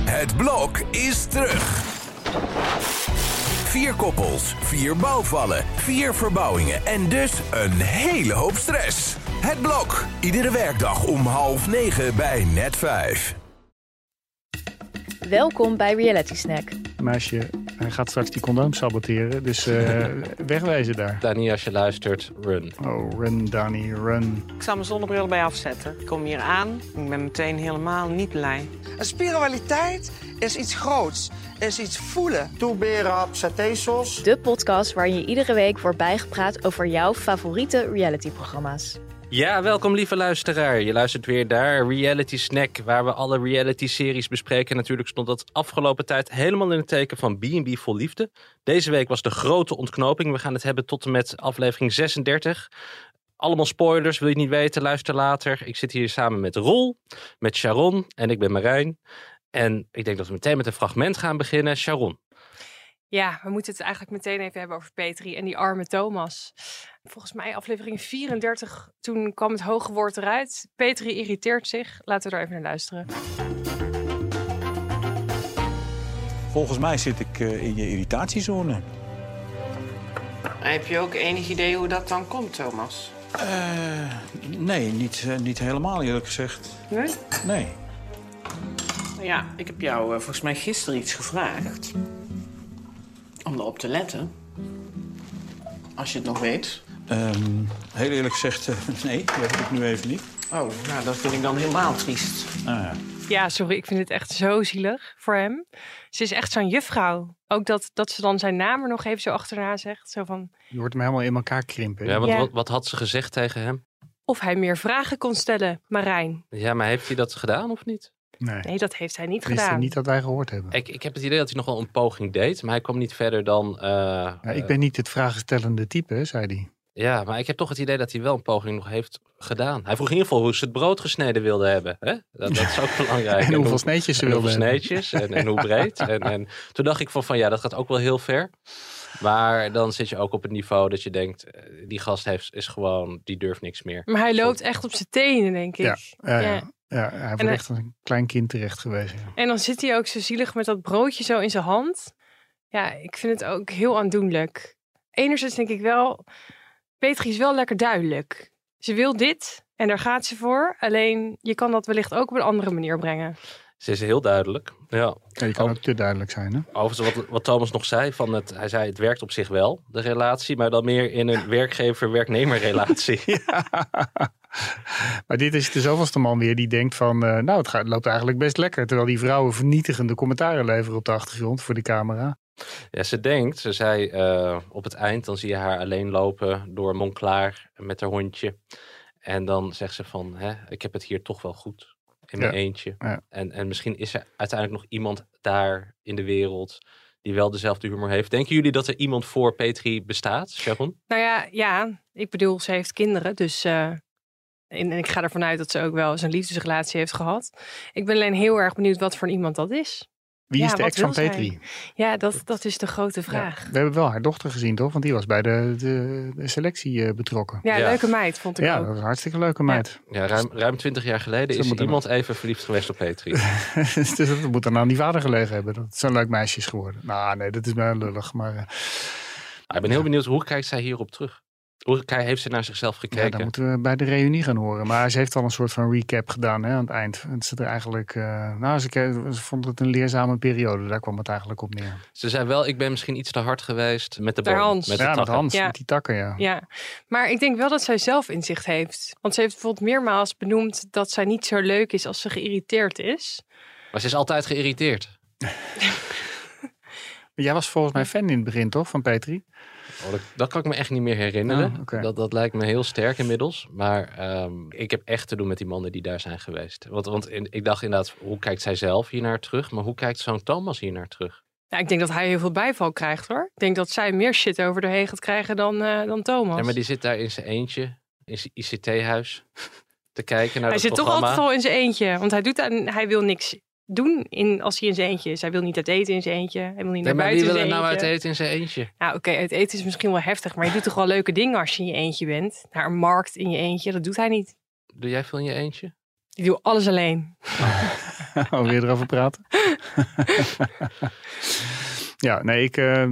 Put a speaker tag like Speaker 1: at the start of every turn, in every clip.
Speaker 1: Het blok is terug. Vier koppels, vier bouwvallen, vier verbouwingen en dus een hele hoop stress. Het blok, iedere werkdag om half negen bij net vijf.
Speaker 2: Welkom bij Reality Snack.
Speaker 3: Meisje, hij gaat straks die condoom saboteren, dus eh, wegwijzen daar.
Speaker 4: Dani, als je luistert, run.
Speaker 3: Oh, run, Danny, run.
Speaker 5: Ik zal mijn zonnebril erbij afzetten. Ik kom hier aan. Ik ben meteen helemaal niet blij.
Speaker 6: En spiritualiteit is iets groots, is iets voelen.
Speaker 7: Toeberen, satésos.
Speaker 2: De podcast waarin je iedere week wordt bijgepraat over jouw favoriete realityprogramma's.
Speaker 4: Ja, welkom lieve luisteraar. Je luistert weer naar Reality Snack, waar we alle reality-series bespreken. Natuurlijk stond dat afgelopen tijd helemaal in het teken van B&B Vol Liefde. Deze week was de grote ontknoping. We gaan het hebben tot en met aflevering 36. Allemaal spoilers, wil je het niet weten, luister later. Ik zit hier samen met Roel, met Sharon en ik ben Marijn. En ik denk dat we meteen met een fragment gaan beginnen. Sharon,
Speaker 8: Ja, we moeten het eigenlijk meteen even hebben over Petri en die arme Thomas. Volgens mij aflevering 34, toen kwam het hoge woord eruit. Petri irriteert zich. Laten we daar even naar luisteren.
Speaker 9: Volgens mij zit ik eh, in je irritatiezone.
Speaker 5: Heb je ook enig idee hoe dat dan komt, Thomas?
Speaker 9: Eh, nee, niet, eh, niet helemaal eerlijk gezegd.
Speaker 5: Nee?
Speaker 9: Nee.
Speaker 5: Ja, ik heb jou eh, volgens mij gisteren iets gevraagd. Om erop te letten. Als je het nog weet.
Speaker 9: Ehm, heel eerlijk gezegd, eh, nee, dat heb ik nu even niet.
Speaker 5: Oh, nou, dat vind ik dan helemaal triest.
Speaker 9: Nou ja.
Speaker 8: Ja, sorry, ik vind het echt zo zielig voor hem. Ze is echt zo'n juffrouw. Ook dat, dat ze dan zijn naam er nog even zo achterna zegt. Zo van,
Speaker 3: Je hoort hem helemaal in elkaar krimpen.
Speaker 4: ja, wat,
Speaker 8: Ja.
Speaker 4: Wat, wat had ze gezegd tegen hem?
Speaker 8: of hij meer vragen kon stellen, Marijn.
Speaker 4: Ja, maar heeft hij dat gedaan of niet?
Speaker 3: Nee,
Speaker 8: Nee, dat heeft hij niet
Speaker 3: tenminste
Speaker 8: gedaan.
Speaker 3: niet dat wij gehoord hebben.
Speaker 4: Ik, ik heb het idee dat hij nog wel een poging deed, maar hij kwam niet verder dan. eh,
Speaker 3: Ja, ik
Speaker 4: eh,
Speaker 3: ben niet het vragenstellende type, hè, zei hij.
Speaker 4: ja, maar ik heb toch het idee dat hij wel een poging nog heeft gedaan. Hij vroeg in ieder geval hoe ze het brood gesneden wilden hebben. Hè? Dat, dat is ook belangrijk.
Speaker 3: En hoeveel
Speaker 4: hoe-
Speaker 3: sneetjes ze
Speaker 4: en
Speaker 3: wilden
Speaker 4: hoeveel
Speaker 3: hebben.
Speaker 4: sneetjes en, en hoe breed. En, en toen dacht ik van, van ja, dat gaat ook wel heel ver. Maar dan zit je ook op het niveau dat je denkt, eh, die gast heeft, is gewoon, die durft niks meer.
Speaker 8: Maar hij loopt echt op zijn tenen, denk ik.
Speaker 3: Ja, ja.
Speaker 8: Ja.
Speaker 3: ja, hij wordt
Speaker 8: En hij-
Speaker 3: echt als een klein kind terecht geweest. ja.
Speaker 8: En dan zit hij ook zo zielig met dat broodje zo in zijn hand. Ja, ik vind het ook heel aandoenlijk. Enerzijds denk ik wel, Petri is wel lekker duidelijk. Ze wil dit en daar gaat ze voor. Alleen je kan dat wellicht ook op een andere manier brengen.
Speaker 4: Ze is heel duidelijk. Ja.
Speaker 3: Ja, je kan
Speaker 4: Oh.
Speaker 3: ook te duidelijk zijn, hè?
Speaker 4: Overigens, wat, wat Thomas nog zei, van het, hij zei het werkt op zich wel, de relatie, maar dan meer in een werkgever-werknemer-relatie.
Speaker 3: Maar dit is de zoveelste man weer die denkt van... eh, nou, het gaat, loopt eigenlijk best lekker. Terwijl die vrouwen vernietigende commentaren leveren op de achtergrond voor de camera.
Speaker 4: Ja, ze denkt, ze zei eh, op het eind, dan zie je haar alleen lopen door Monclair met haar hondje. En dan zegt ze van, hè, ik heb het hier toch wel goed in mijn
Speaker 3: Ja,
Speaker 4: eentje.
Speaker 3: ja.
Speaker 4: En, en misschien is er uiteindelijk nog iemand daar in de wereld die wel dezelfde humor heeft. Denken jullie dat er iemand voor Petri bestaat, Sharon?
Speaker 8: Nou ja, ja ik bedoel, ze heeft kinderen. Dus eh, en, en ik ga ervan uit dat ze ook wel eens een liefdesrelatie heeft gehad. Ik ben alleen heel erg benieuwd wat voor iemand dat is.
Speaker 3: Wie
Speaker 8: Ja,
Speaker 3: is de
Speaker 8: wat
Speaker 3: ex van
Speaker 8: wil zij?
Speaker 3: Petri?
Speaker 8: Ja, dat, dat is de grote
Speaker 3: Ja.
Speaker 8: vraag.
Speaker 3: We hebben wel haar dochter gezien, toch? Want die was bij de, de, de selectie eh, betrokken.
Speaker 8: Ja,
Speaker 4: Ja.
Speaker 8: leuke meid vond ik
Speaker 3: Ja,
Speaker 8: ook.
Speaker 3: dat was een hartstikke leuke meid.
Speaker 4: Ja, ruim, ruim 20 jaar geleden
Speaker 3: Ze
Speaker 4: is
Speaker 3: moeten
Speaker 4: iemand even verliefd geweest op Petri.
Speaker 3: dus dat moet dan aan die vader gelegen hebben. Dat het zo'n leuk meisje is geworden. Nou, nee, dat is wel lullig. Maar eh,
Speaker 4: Ah, ik ben heel benieuwd, hoe kijkt zij hierop terug? Hoe kei- heeft ze naar zichzelf
Speaker 3: ja,
Speaker 4: gekeken?
Speaker 3: dat moeten we bij de reunie gaan horen. Maar ze heeft al een soort van recap gedaan hè, aan het eind. Het zit er eigenlijk... eh, nou, ze, ke- ze vond het een leerzame periode. Daar kwam het eigenlijk op neer.
Speaker 4: Ze zei wel, ik ben misschien iets te hard geweest met de
Speaker 8: Naar
Speaker 4: boom,
Speaker 8: Hans.
Speaker 4: Met de
Speaker 3: ja, met
Speaker 4: takken.
Speaker 3: Hans,
Speaker 8: Ja.
Speaker 3: met die takken, ja.
Speaker 8: Ja, maar ik denk wel dat zij zelf inzicht heeft. Want ze heeft bijvoorbeeld meermaals benoemd dat zij niet zo leuk is als ze geïrriteerd is.
Speaker 4: Maar ze is altijd geïrriteerd.
Speaker 3: Maar Jij was volgens mij fan in het begin, toch? Van Petri?
Speaker 4: Oh, dat, dat kan ik me echt niet meer herinneren.
Speaker 3: Ah, oké.
Speaker 4: dat, dat lijkt me heel sterk inmiddels. Maar ehm, ik heb echt te doen met die mannen die daar zijn geweest. Want, want in- ik dacht inderdaad, hoe kijkt zij zelf hier naar terug? Maar hoe kijkt zo'n Thomas hier naar terug?
Speaker 8: Ja, Nou, ik denk dat hij heel veel bijval krijgt hoor. Ik denk dat zij meer shit over de heen gaat krijgen dan, eh, dan Thomas.
Speaker 4: Ja, maar die zit daar in zijn eentje, in zijn ICT-huis, te kijken naar
Speaker 8: hij
Speaker 4: dat
Speaker 8: zit toch
Speaker 4: programma.
Speaker 8: altijd al in zijn eentje. Want hij, doet aan, hij wil niks doen in, als hij in zijn eentje is. Hij wil niet uit eten in zijn eentje. Hij wil niet
Speaker 4: Nee,
Speaker 8: naar
Speaker 4: maar wie
Speaker 8: buiten
Speaker 4: wil
Speaker 8: in
Speaker 4: er
Speaker 8: zijn
Speaker 4: nou uit
Speaker 8: eentje.
Speaker 4: eten in zijn eentje?
Speaker 8: Nou oké, uit eten is misschien wel heftig. Maar je doet toch wel leuke dingen als je in je eentje bent. Naar een markt in je eentje, dat doet hij niet.
Speaker 4: Doe jij veel in je eentje?
Speaker 8: Ik doe alles alleen.
Speaker 3: Oh, weer erover praten. ja, nee, ik, eh,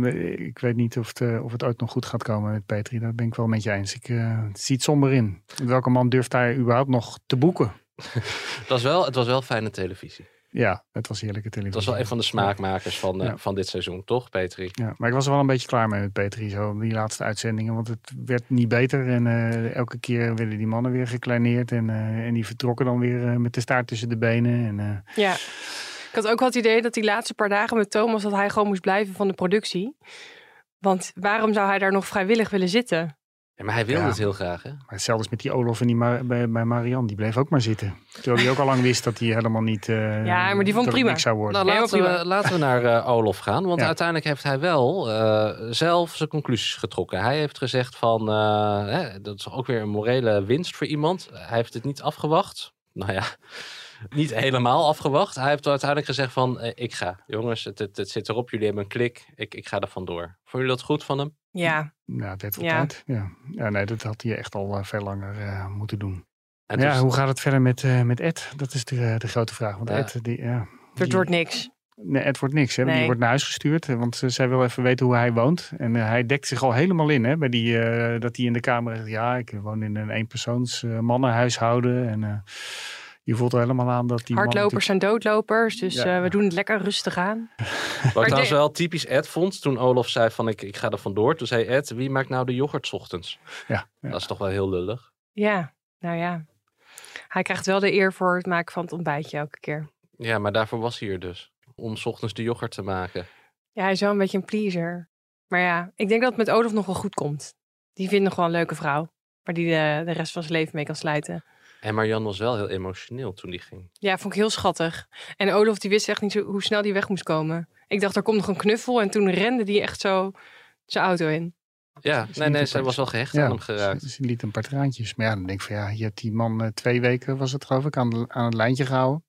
Speaker 3: ik weet niet of het, eh, of het ooit nog goed gaat komen met Petri. Daar ben ik wel met je eens. Ik eh, het ziet somber in. Welke man durft hij überhaupt nog te boeken?
Speaker 4: Het was wel, het was wel fijne televisie.
Speaker 3: Ja, het was heerlijke
Speaker 4: Het
Speaker 3: televisie.
Speaker 4: was wel een van de smaakmakers van, eh,
Speaker 3: Ja.
Speaker 4: van dit seizoen, toch, Petri?
Speaker 3: Ja, maar ik was er wel een beetje klaar mee met Petri, zo die laatste uitzendingen. Want het werd niet beter. En eh, elke keer werden die mannen weer gekleineerd. En, eh, en die vertrokken dan weer eh, met de staart tussen de benen. En, eh,
Speaker 8: Ja. Ik had ook wel het idee dat die laatste paar dagen met Thomas... dat hij gewoon moest blijven van de productie. Want waarom zou hij daar nog vrijwillig willen zitten?
Speaker 4: Ja, maar hij wilde
Speaker 3: Ja.
Speaker 4: het heel graag, hè?
Speaker 3: maar hetzelfde is met die Olof en die Ma- bij, bij Marianne. Die bleef ook maar zitten. Terwijl die ook al lang wist dat hij helemaal niet... eh,
Speaker 8: Ja, maar die
Speaker 3: dat
Speaker 8: vond
Speaker 3: het
Speaker 8: prima.
Speaker 3: niks zou worden.
Speaker 4: Nou,
Speaker 8: Helemaal
Speaker 4: laten we,
Speaker 8: prima.
Speaker 4: laten we naar eh, Olof gaan. Want
Speaker 3: Ja.
Speaker 4: uiteindelijk heeft hij wel eh, zelf zijn conclusies getrokken. Hij heeft gezegd van, eh, hè, dat is ook weer een morele winst voor iemand. Hij heeft het niet afgewacht. Nou ja, niet helemaal afgewacht. Hij heeft uiteindelijk gezegd van, eh, ik ga. Jongens, het, het, het zit erop. Jullie hebben een klik. Ik, ik ga er vandoor. Vond jullie dat goed van hem?
Speaker 8: Ja,
Speaker 3: Ja, het werd wel
Speaker 8: Ja.
Speaker 3: tijd. Ja. ja, nee, dat had hij echt al eh, veel langer eh, moeten doen.
Speaker 4: En dus
Speaker 3: ja,
Speaker 4: toen-
Speaker 3: hoe gaat het verder met, eh, met Ed? Dat is de, de grote vraag. Want
Speaker 4: Ja.
Speaker 3: Ed, eh, die, ja,
Speaker 8: het
Speaker 3: die-
Speaker 8: wordt niks.
Speaker 3: Nee, het wordt niks. Hè? Die
Speaker 8: Nee.
Speaker 3: wordt naar huis gestuurd, hè, want eh, zij wil even weten hoe hij woont. En eh, hij dekt zich al helemaal in, hè, bij die, eh, dat hij in de kamer zegt... ja, ik woon in een eenpersoons eh, mannenhuishouden. En eh, je voelt er helemaal aan dat die man
Speaker 8: Hardlopers zijn doodlopers, dus
Speaker 3: Ja.
Speaker 8: eh, we doen het lekker rustig aan.
Speaker 4: Wat ik
Speaker 8: Maar
Speaker 4: trouwens
Speaker 8: de-
Speaker 4: wel typisch Ed vond, toen Olof zei van ik, ik ga er vandoor. Toen zei Ed, wie maakt nou de yoghurt 's ochtends?
Speaker 3: Ja, ja.
Speaker 4: Dat is toch wel heel lullig.
Speaker 8: Ja, nou ja. Hij krijgt wel de eer voor het maken van het ontbijtje elke keer.
Speaker 4: Ja, maar daarvoor was hij er dus. Om 's ochtends de yoghurt te maken.
Speaker 8: Ja, hij is wel een beetje een pleaser. Maar ja, ik denk dat het met Olaf nog wel goed komt. Die vindt nog wel een leuke vrouw, waar die eh, de, de rest van zijn leven mee kan slijten.
Speaker 4: En Marianne was wel heel emotioneel toen die ging.
Speaker 8: Ja, vond ik heel schattig. En Olaf die wist echt niet zo, hoe snel die weg moest komen. Ik dacht, er komt nog een knuffel en toen rende die echt zo zijn auto in.
Speaker 4: Ja,
Speaker 3: is
Speaker 4: nee,
Speaker 3: niet
Speaker 4: nee,
Speaker 3: een
Speaker 4: zij was wel gehecht
Speaker 3: Ja,
Speaker 4: aan hem geraakt.
Speaker 3: Ze, ze liet een paar traantjes. Maar ja, dan denk ik van ja, je hebt die man eh, twee weken, was het geloof ik, aan, de- aan het lijntje gehouden.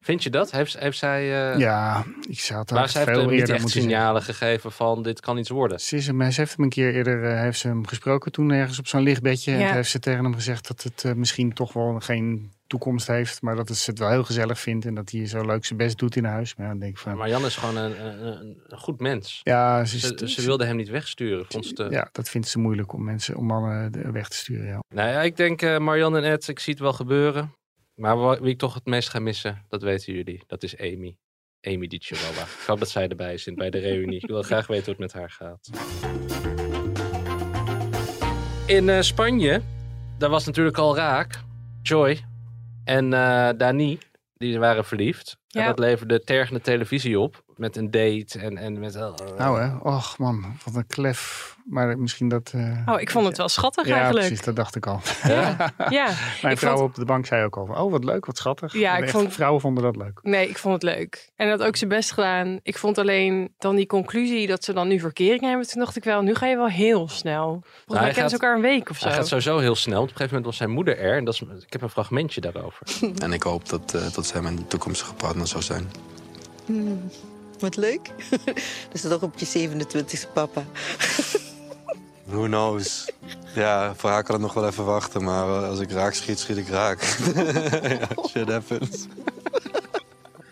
Speaker 4: Vind je dat? Heeft, heeft zij... eh,
Speaker 3: Ja, ik zou het
Speaker 4: maar
Speaker 3: eigenlijk
Speaker 4: zij heeft
Speaker 3: veel
Speaker 4: hem niet
Speaker 3: eerder
Speaker 4: echt
Speaker 3: moeten zeggen.
Speaker 4: signalen gegeven van dit kan iets worden.
Speaker 3: Ze, is hem, ze heeft hem een keer eerder eh, heeft ze hem gesproken toen ergens op zo'n lichtbedje. En
Speaker 8: Ja.
Speaker 3: toen heeft ze tegen hem gezegd dat het eh, misschien toch wel geen toekomst heeft. Maar dat ze het wel heel gezellig vindt en dat hij zo leuk zijn best doet in huis. Maar ja, dan denk ik van... Ja,
Speaker 4: Marianne is gewoon een, een, een goed mens.
Speaker 3: ze,
Speaker 4: Ze, ze wilde eh, hem niet wegsturen. Vond ze te-
Speaker 3: ja, dat vindt ze moeilijk om mensen, om mannen eh, de- weg te sturen. Ja.
Speaker 4: Nou ja, ik denk eh, Marianne en Ed, ik zie het wel gebeuren. Maar wa- wie ik toch het meest ga missen, dat weten jullie. Dat is Amy. Amy die Chihuahua. Ik hoop dat zij erbij is in- bij de reunie. Ik wil graag weten hoe het met haar gaat. In eh, Spanje, daar was natuurlijk al raak. Joy en eh, Dani, die waren verliefd. En
Speaker 8: Ja.
Speaker 4: dat leverde tergende televisie op. Met een date en, en met... eh,
Speaker 3: Nou hè, och man, wat een klef. Maar misschien dat... eh,
Speaker 8: Oh, ik vond het wel schattig
Speaker 3: ja,
Speaker 8: eigenlijk.
Speaker 3: precies, dat dacht ik al.
Speaker 8: Ja, ja.
Speaker 3: Mijn
Speaker 8: Ik
Speaker 3: vrouw
Speaker 8: vond-
Speaker 3: op de bank zei ook al van, oh wat leuk, wat schattig.
Speaker 8: Ja,
Speaker 3: En
Speaker 8: ik
Speaker 3: echt,
Speaker 8: vond-
Speaker 3: Vrouwen vonden dat leuk.
Speaker 8: Nee, ik vond het leuk. En dat ook zijn best gedaan. Ik vond alleen dan die conclusie dat ze dan nu verkering hebben. Toen dacht ik wel, nu ga je wel heel snel.
Speaker 3: Nou,
Speaker 8: Volgens mij
Speaker 4: hij
Speaker 8: kennen ze
Speaker 4: gaat-
Speaker 8: elkaar een week of zo.
Speaker 4: Hij gaat sowieso heel snel. want Op een gegeven moment was zijn moeder er. En dat is, ik heb een fragmentje daarover.
Speaker 10: En ik hoop dat, eh, dat zij mijn toekomstige partner zou zijn.
Speaker 11: Hmm, Wat leuk. Dus toch op je 27e papa.
Speaker 10: Who knows? Ja, voor haar kan het nog wel even wachten, maar eh, als ik raak schiet, schiet ik raak. Ja, shit happens.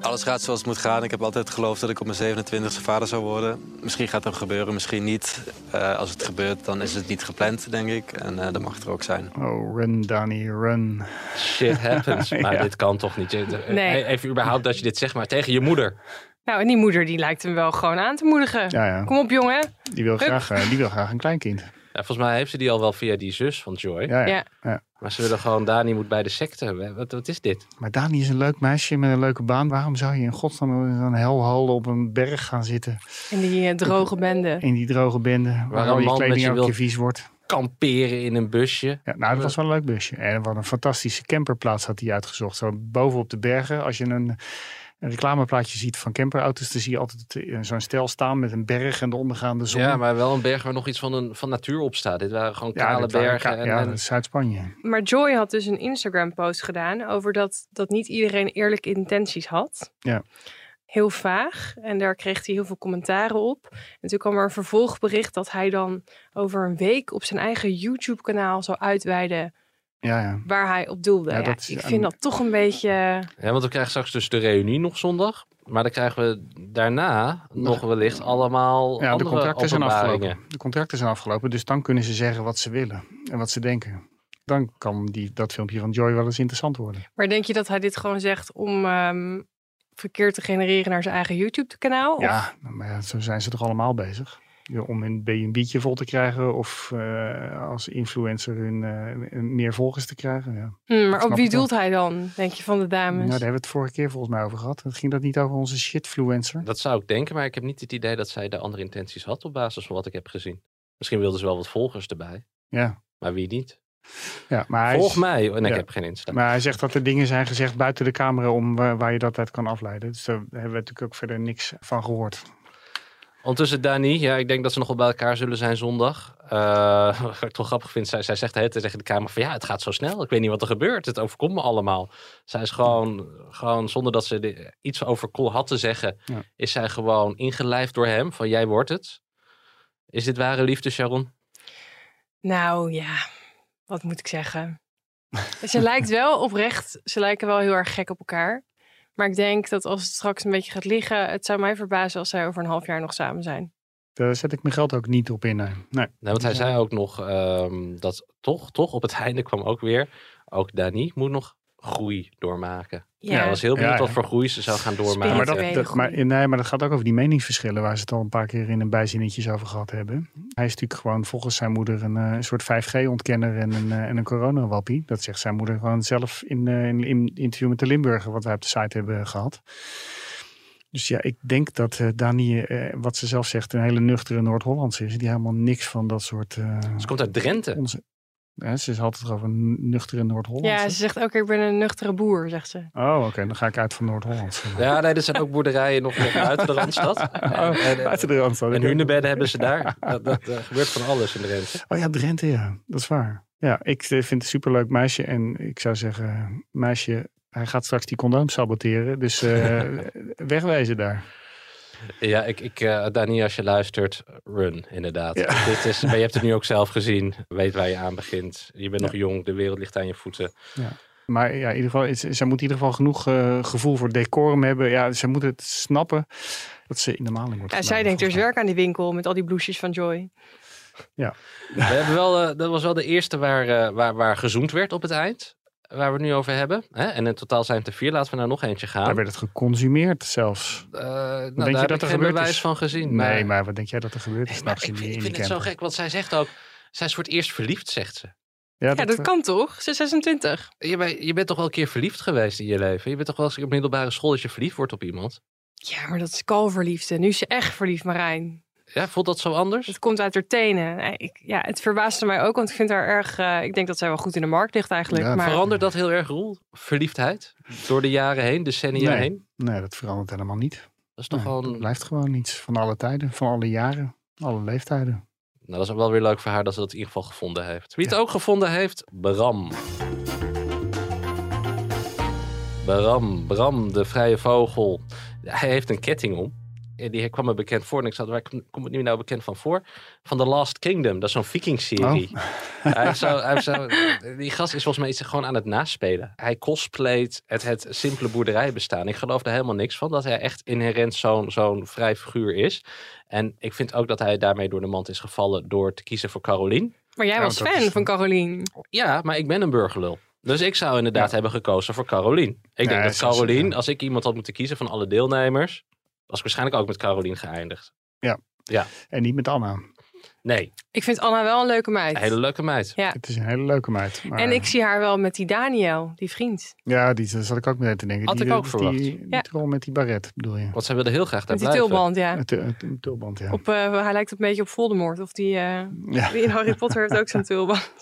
Speaker 10: Alles gaat zoals het moet gaan. Ik heb altijd geloofd dat ik op mijn 27e vader zou worden. Misschien gaat dat gebeuren, misschien niet. Eh, als het gebeurt, dan is het niet gepland, denk ik. En eh dat mag er ook zijn.
Speaker 3: Oh, run Dani, run.
Speaker 4: Shit happens. Maar
Speaker 3: Ja.
Speaker 4: dit kan toch niet? Je- eh,
Speaker 8: Nee.
Speaker 4: Even überhaupt dat je dit zegt, maar tegen je moeder.
Speaker 8: Nou, en die moeder die lijkt hem wel gewoon aan te moedigen.
Speaker 3: Ja, ja.
Speaker 8: Kom op, jongen.
Speaker 3: Die wil, graag, eh, die wil graag een kleinkind.
Speaker 4: Ja, volgens mij heeft ze die al wel via die zus van Joy.
Speaker 3: Ja, ja.
Speaker 8: Ja.
Speaker 4: Maar ze willen gewoon, Dani moet bij de secte. hebben. Wat, wat is dit?
Speaker 3: Maar Dani is een leuk meisje met een leuke baan. Waarom zou je in godsnaam in zo'n helhol op een berg gaan zitten?
Speaker 8: En die eh, droge bende.
Speaker 3: In die droge bende, waar
Speaker 4: een
Speaker 3: al je
Speaker 4: land met
Speaker 3: kleding
Speaker 4: je
Speaker 3: elke
Speaker 4: wil-
Speaker 3: keer vies wordt.
Speaker 4: Kamperen in een busje.
Speaker 3: Ja, nou, dat was wel een leuk busje. En wat een fantastische camperplaats had hij uitgezocht. Zo bovenop de bergen. Als je een, een reclameplaatje ziet van camperauto's, dan zie je altijd eh, zo'n stel staan met een berg en de ondergaande zon.
Speaker 4: Ja, maar wel een berg waar nog iets van, een, van natuur op staat. Dit waren gewoon
Speaker 3: Ja,
Speaker 4: kale
Speaker 3: dat waren
Speaker 4: bergen.
Speaker 3: ka-
Speaker 4: en,
Speaker 3: ja,
Speaker 4: en-
Speaker 3: dat is Zuid-Spanje.
Speaker 8: Maar Joy had dus een Instagram-post gedaan over dat, dat niet iedereen eerlijke intenties had.
Speaker 3: Ja.
Speaker 8: Heel vaag. En daar kreeg hij heel veel commentaren op. En toen kwam er een vervolgbericht dat hij dan over een week op zijn eigen YouTube-kanaal zou uitweiden
Speaker 3: Ja, ja.
Speaker 8: waar hij op doelde.
Speaker 3: Ja,
Speaker 8: Ja,
Speaker 3: dat is-
Speaker 8: ik vind dat toch een beetje...
Speaker 4: Ja, want we krijgen straks dus de reunie nog zondag. Maar dan krijgen we daarna nog wellicht allemaal
Speaker 3: Ja, de
Speaker 4: andere
Speaker 3: contracten zijn
Speaker 4: openbaringen.
Speaker 3: afgelopen. De contracten zijn afgelopen, dus dan kunnen ze zeggen wat ze willen en wat ze denken. Dan kan die, dat filmpje van Joy wel eens interessant worden.
Speaker 8: Maar denk je dat hij dit gewoon zegt om ehm, verkeer te genereren naar zijn eigen YouTube-kanaal? Of-
Speaker 3: Ja, maar ja, zo zijn ze toch allemaal bezig? Ja, Om hun B&B'tje vol te krijgen of eh, als influencer hun eh, meer volgers te krijgen. Ja.
Speaker 8: Hm,
Speaker 3: Dat
Speaker 8: maar op
Speaker 3: snap
Speaker 8: wie
Speaker 3: ik wel.
Speaker 8: doelt hij dan, denk je, van de
Speaker 3: Nou,
Speaker 8: dames?
Speaker 3: daar hebben we het vorige keer volgens mij over gehad. Het ging dat niet over onze shitfluencer.
Speaker 4: Dat zou ik denken, maar ik heb niet het idee dat zij de andere intenties had op basis van wat ik heb gezien. Misschien wilden ze wel wat volgers erbij,
Speaker 3: Ja,
Speaker 4: maar wie niet?
Speaker 3: ja maar hij
Speaker 4: Volg
Speaker 3: is-
Speaker 4: mij. En ik
Speaker 3: ja.
Speaker 4: heb geen Insta.
Speaker 3: Maar hij zegt dat er dingen zijn gezegd buiten de camera om waar, waar je dat uit kan afleiden. Dus daar hebben we natuurlijk ook verder niks van gehoord.
Speaker 4: Ondertussen Dani, ja, ik denk dat ze nog wel bij elkaar zullen zijn zondag. Eh, wat ik toch grappig vind, zij, zij zegt de hele tijd tegen de kamer van ja, het gaat zo snel. Ik weet niet wat er gebeurt. Het overkomt me allemaal. Zij is gewoon, gewoon zonder dat ze er iets over Cole had te zeggen,
Speaker 3: Ja.
Speaker 4: is zij gewoon ingelijfd door hem van jij wordt het. Is dit ware liefde, Sharon?
Speaker 8: Nou ja, wat moet ik zeggen? ze lijkt wel oprecht, ze lijken wel heel erg gek op elkaar. Maar ik denk dat als het straks een beetje gaat liggen, het zou mij verbazen als zij over een half jaar nog samen zijn.
Speaker 3: Daar zet ik mijn geld ook niet op in. Nee. Nee.
Speaker 4: Nou, want hij zei ook nog ehm, dat toch, toch op het einde kwam ook weer, ook Dani moet nog groei doormaken.
Speaker 8: Ja.
Speaker 4: Ja, ik was heel benieuwd
Speaker 3: Ja, ja.
Speaker 4: wat voor groei ze zou gaan doormaken.
Speaker 3: maar, dat, dat, maar, nee, maar dat gaat ook over die meningsverschillen waar ze het al een paar keer in een bijzinnetjes over gehad hebben. Hij is natuurlijk gewoon volgens zijn moeder een, eh, een soort 5G-ontkenner en een, eh, en een coronawappie. Dat zegt zijn moeder gewoon zelf in eh, in in interview met de Limburger, wat wij op de site hebben eh, gehad. Dus ja, ik denk dat eh Dani, eh, wat ze zelf zegt, een hele nuchtere Noord-Hollandse is. Die helemaal niks van dat soort... eh,
Speaker 4: Ze komt uit Drenthe.
Speaker 3: onze, hè, ze had het over een nuchtere Noord-Hollandse.
Speaker 8: Ja, ze zegt ook, ik ben een nuchtere boer, zegt ze.
Speaker 3: Oh, oké. Dan ga ik uit van Noord-Holland.
Speaker 4: Ja, nee, er zijn ook boerderijen nog nog buiten de Randstad. En, en,
Speaker 3: Buiten Oh, de Randstad.
Speaker 4: en hunebedden hebben ze daar. Dat, dat eh, gebeurt van alles in de rente.
Speaker 3: Oh ja, Drenthe, ja. Dat is waar. Ja, ik eh, vind het een superleuk meisje. En ik zou zeggen, meisje, hij gaat straks die condoom saboteren. Dus eh, wegwijzen daar.
Speaker 4: Ja, ik, ik, eh, Dani, als je luistert, run inderdaad.
Speaker 3: Ja.
Speaker 4: Dit is, maar je hebt het nu ook zelf gezien. Weet waar je aan begint. Je bent nog jong, de wereld ligt aan je voeten.
Speaker 3: Ja. Maar ja, in ieder geval, ze- zij moet in ieder geval genoeg eh, gevoel voor decorum hebben. Ja, zij moet het snappen dat ze in de maling wordt
Speaker 4: Nou,
Speaker 8: Ja, zij
Speaker 3: genomen,
Speaker 8: denkt, dus er is werk aan die winkel met al die bloesjes van Joy.
Speaker 4: We hebben wel, eh, dat was wel de eerste waar, eh, waar, waar gezoend werd op het eind. Waar we het nu over hebben. Hè? En in totaal zijn het er vier. Laten we nou nog eentje gaan.
Speaker 3: Daar werd het geconsumeerd zelfs.
Speaker 4: Eh, nou,
Speaker 3: Wat denk
Speaker 4: daar
Speaker 3: je
Speaker 4: heb
Speaker 3: dat
Speaker 4: ik
Speaker 3: er
Speaker 4: geen
Speaker 3: gebeurd
Speaker 4: bewijs
Speaker 3: is?
Speaker 4: van gezien. maar-
Speaker 3: Nee, maar wat denk jij dat er gebeurd is? nou
Speaker 4: Maar
Speaker 3: s'nachts in
Speaker 4: nou, ik
Speaker 3: die-
Speaker 4: vind,
Speaker 3: in
Speaker 4: ik
Speaker 3: die
Speaker 4: vind het zo
Speaker 3: camper?
Speaker 4: gek, want zij zegt ook... Zij is voor het eerst verliefd, zegt ze.
Speaker 8: Ja, dat kan toch? Ze is 26.
Speaker 4: Je, bent- je bent toch wel een keer verliefd geweest in je leven? Je bent toch wel eens op middelbare school dat je verliefd wordt op iemand?
Speaker 8: Ja, maar dat is kalverliefde. Nu is ze echt verliefd, Marijn.
Speaker 4: Ja, voelt dat zo anders?
Speaker 8: Het komt uit haar tenen. Nee, Ik, ja, het verbaasde mij ook, want ik vind haar erg... eh, ik denk dat zij wel goed in de markt ligt eigenlijk. maar
Speaker 4: Verandert dat heel erg, Roel? Verliefdheid? Door de jaren heen, decennia
Speaker 3: Nee.
Speaker 4: heen?
Speaker 3: Nee, dat verandert helemaal niet.
Speaker 4: Dat is toch
Speaker 3: Nee,
Speaker 4: gewoon...
Speaker 3: dat blijft gewoon iets van alle tijden, van alle jaren, alle leeftijden.
Speaker 4: Nou, dat is ook wel weer leuk voor haar dat ze dat in ieder geval gevonden heeft. Wie het ook gevonden heeft, Bram. Bram, Bram, de vrije vogel. Hij heeft een ketting om. En die kwam me bekend voor. En ik zat, waar kom- komt het nu nou bekend van voor? Van The Last Kingdom. Dat is zo'n viking-serie. Hij heeft zo, hij heeft zo, die gast is volgens mij iets gewoon aan het naspelen. Hij cosplayt het, het simpele boerderijbestaan. Ik geloof er helemaal niks van dat hij echt inherent zo'n zo'n vrij figuur is. En ik vind ook dat hij daarmee door de mand is gevallen door te kiezen voor Caroline.
Speaker 8: Maar jij
Speaker 4: Ja,
Speaker 8: was
Speaker 4: dat
Speaker 8: fan
Speaker 4: is-
Speaker 8: van Carolien.
Speaker 4: Ja, maar ik ben een burgerlul. Dus ik zou inderdaad hebben gekozen voor Caroline. Ik
Speaker 3: Nee,
Speaker 4: denk dat
Speaker 3: zo is het,
Speaker 4: Caroline,
Speaker 3: ja.
Speaker 4: als ik iemand had moeten kiezen van alle deelnemers, was ik waarschijnlijk ook met Caroline geëindigd.
Speaker 3: En niet met Anna.
Speaker 4: Nee,
Speaker 8: Ik vind Anna wel een leuke meid.
Speaker 4: een hele leuke meid.
Speaker 8: Ja.
Speaker 3: Het is een hele leuke meid. Maar
Speaker 8: En ik zie haar wel met die Daniel, die vriend.
Speaker 3: Ja, die daar zat ik ook meteen te denken.
Speaker 4: Had
Speaker 3: die,
Speaker 4: ik ook
Speaker 3: die,
Speaker 4: verwacht.
Speaker 3: Die, die
Speaker 8: Ja.
Speaker 3: troll met die baret, bedoel je?
Speaker 4: Want zij wilde heel graag daar
Speaker 8: Met die
Speaker 4: blijven.
Speaker 8: tulband, ja.
Speaker 3: Het, het, het tulband, ja.
Speaker 8: Op, eh, hij lijkt een beetje op Voldemort. Of die, eh,
Speaker 3: Ja.
Speaker 8: die in Harry Potter heeft ook zo'n tulband.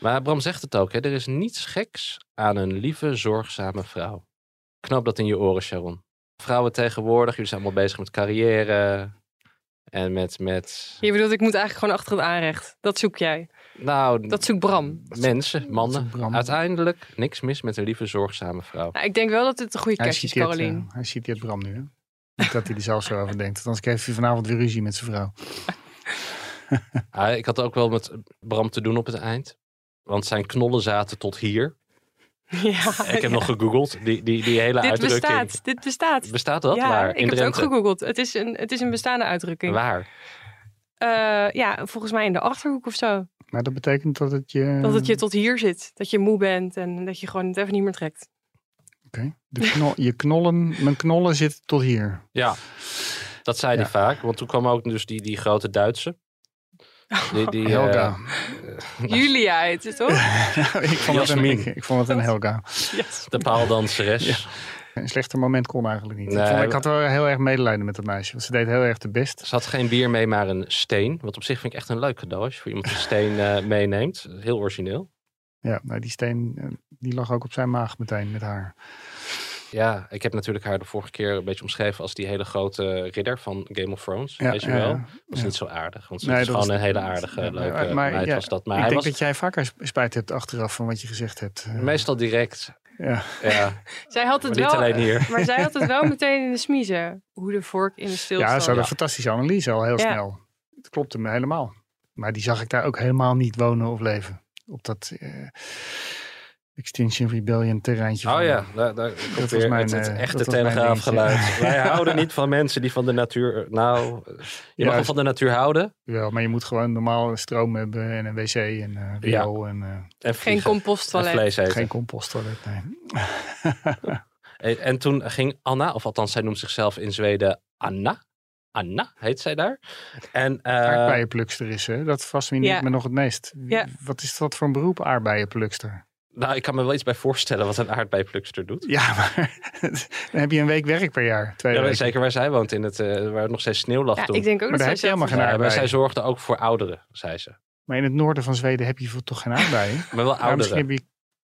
Speaker 4: Maar Bram zegt het ook, hè? er is niets geks aan een lieve, zorgzame vrouw. Knoop dat in je oren, Sharon. Vrouwen tegenwoordig, jullie zijn allemaal bezig met carrière en met, met
Speaker 8: Je bedoelt, ik moet eigenlijk gewoon achter het aanrecht. Dat zoek jij.
Speaker 4: nou,
Speaker 8: Dat zoekt Bram.
Speaker 4: mensen, mannen.
Speaker 3: Bram.
Speaker 4: Uiteindelijk niks mis met een lieve, zorgzame vrouw.
Speaker 8: Nou, ik denk wel dat dit een goede
Speaker 3: Hij
Speaker 8: catch is,
Speaker 3: citeert,
Speaker 8: Carolien.
Speaker 3: eh, hij citeert Bram nu, hè? Niet dat hij er zelf zo over denkt. Anders heeft hij vanavond weer ruzie met zijn vrouw.
Speaker 4: Ah, ik had ook wel met Bram te doen op het eind. Want zijn knollen zaten tot hier.
Speaker 8: Ah, Ja,
Speaker 4: Ik heb nog gegoogeld. Die, die, die hele
Speaker 8: dit
Speaker 4: uitdrukking.
Speaker 8: bestaat. Dit bestaat.
Speaker 4: Bestaat dat?
Speaker 8: ja,
Speaker 4: Waar?
Speaker 8: ik
Speaker 4: In
Speaker 8: heb het ook
Speaker 4: Drenthe?
Speaker 8: gegoogeld. Het is een, het is een bestaande uitdrukking.
Speaker 4: Waar?
Speaker 8: Eh, ja, volgens mij in de achterhoek of zo.
Speaker 3: Maar dat betekent dat het je...
Speaker 8: Dat
Speaker 4: Mm.
Speaker 8: het je tot hier zit. Dat je moe bent en dat je gewoon het even niet meer trekt.
Speaker 3: de knol, je knollen... Mijn knollen zitten tot hier.
Speaker 4: Ja, dat zei hij vaak. Want toen kwam ook dus die, die grote Duitse. Die, die, eh,
Speaker 3: Oh, Helga.
Speaker 8: Julia heet het toch?
Speaker 3: ik, vond het een,
Speaker 4: Jasmin.
Speaker 3: ik, ik vond het een Helga.
Speaker 4: de paaldanseres.
Speaker 3: Een slechter moment kon eigenlijk niet. ik,
Speaker 4: Nee,
Speaker 3: vond, ik
Speaker 4: we-
Speaker 3: had wel heel erg medelijden met dat meisje. Want ze deed heel erg de best.
Speaker 4: Ze had geen bier mee, maar een steen. Wat op zich vind ik echt een leuk cadeau als je voor iemand een steen eh, meeneemt. Heel origineel.
Speaker 3: Ja, nou, die steen eh, die lag ook op zijn maag meteen met haar.
Speaker 4: Dus Ja, ik heb natuurlijk haar de vorige keer een beetje omschreven als die hele grote ridder van Game of Thrones.
Speaker 3: Ja,
Speaker 4: weet je
Speaker 3: ja,
Speaker 4: wel?
Speaker 3: ja.
Speaker 4: Dat is
Speaker 3: Ja.
Speaker 4: niet zo aardig, want ze
Speaker 3: Nee,
Speaker 4: is
Speaker 3: dat
Speaker 4: gewoon
Speaker 3: was-
Speaker 4: een hele aardige, leuke meid
Speaker 3: ja,
Speaker 4: was dat. Maar
Speaker 3: ik
Speaker 4: hij
Speaker 3: denk
Speaker 4: was
Speaker 3: dat jij vaker sp- spijt hebt achteraf van wat je gezegd hebt. Eh,
Speaker 4: meestal direct.
Speaker 3: ja.
Speaker 4: Ja,
Speaker 8: Zij had het
Speaker 4: Maar niet
Speaker 8: wel,
Speaker 4: alleen hier.
Speaker 8: Maar zij had het wel meteen in de smiezen. Hoe de vork in de stil
Speaker 3: ja, ze
Speaker 8: zat.
Speaker 3: hadden een fantastische analyse al heel
Speaker 8: Ja.
Speaker 3: snel. Het klopte me helemaal. Maar die zag ik daar ook helemaal niet wonen of leven. Op dat eh, Extinction Rebellion terreintje.
Speaker 4: Oh
Speaker 3: van-
Speaker 4: ja, daar, daar komt
Speaker 3: was
Speaker 4: weer
Speaker 3: mijn,
Speaker 4: het, het
Speaker 3: eh,
Speaker 4: echte
Speaker 3: dat was mijn
Speaker 4: telegraafgeluid.
Speaker 3: dingetje.
Speaker 4: Wij houden niet van mensen die van de natuur... Nou, je mag wel
Speaker 3: Juist.
Speaker 4: van de natuur houden.
Speaker 3: Wel, maar je moet gewoon normaal stroom hebben en een wc en eh riool en eh,
Speaker 4: En
Speaker 8: Geen
Speaker 4: vliegen.
Speaker 8: composttoilet.
Speaker 4: En vlees eten.
Speaker 3: geen composttoilet. Nee.
Speaker 4: En, en toen ging Anna, of althans zij noemt zichzelf in Zweden Anna. Anna heet zij daar. En eh,
Speaker 3: Aardbeienplukster is hè? Dat fascineert
Speaker 8: Ja.
Speaker 3: me nog het meest.
Speaker 8: Ja.
Speaker 3: Wat is dat voor een beroep, aardbeienplukster?
Speaker 4: nou, ik kan me wel iets bij voorstellen wat een aardbeiplukster doet.
Speaker 3: Ja, maar dan heb je een week werk per jaar. Twee
Speaker 4: Ja,
Speaker 3: weken.
Speaker 4: zeker waar zij woont, in het, eh, waar nog steeds sneeuw lag
Speaker 8: Ja,
Speaker 4: toen.
Speaker 8: ik denk ook
Speaker 3: Maar
Speaker 8: dat
Speaker 3: daar
Speaker 8: zij
Speaker 3: heb je helemaal
Speaker 8: zelf-
Speaker 3: geen
Speaker 4: Ja, maar zij
Speaker 3: aardbeien.
Speaker 4: zorgde ook voor ouderen, zei ze.
Speaker 3: Maar in het noorden van Zweden heb je veel- toch geen aardbeien?
Speaker 4: Maar wel
Speaker 3: Ja, misschien
Speaker 4: ouderen.
Speaker 3: heb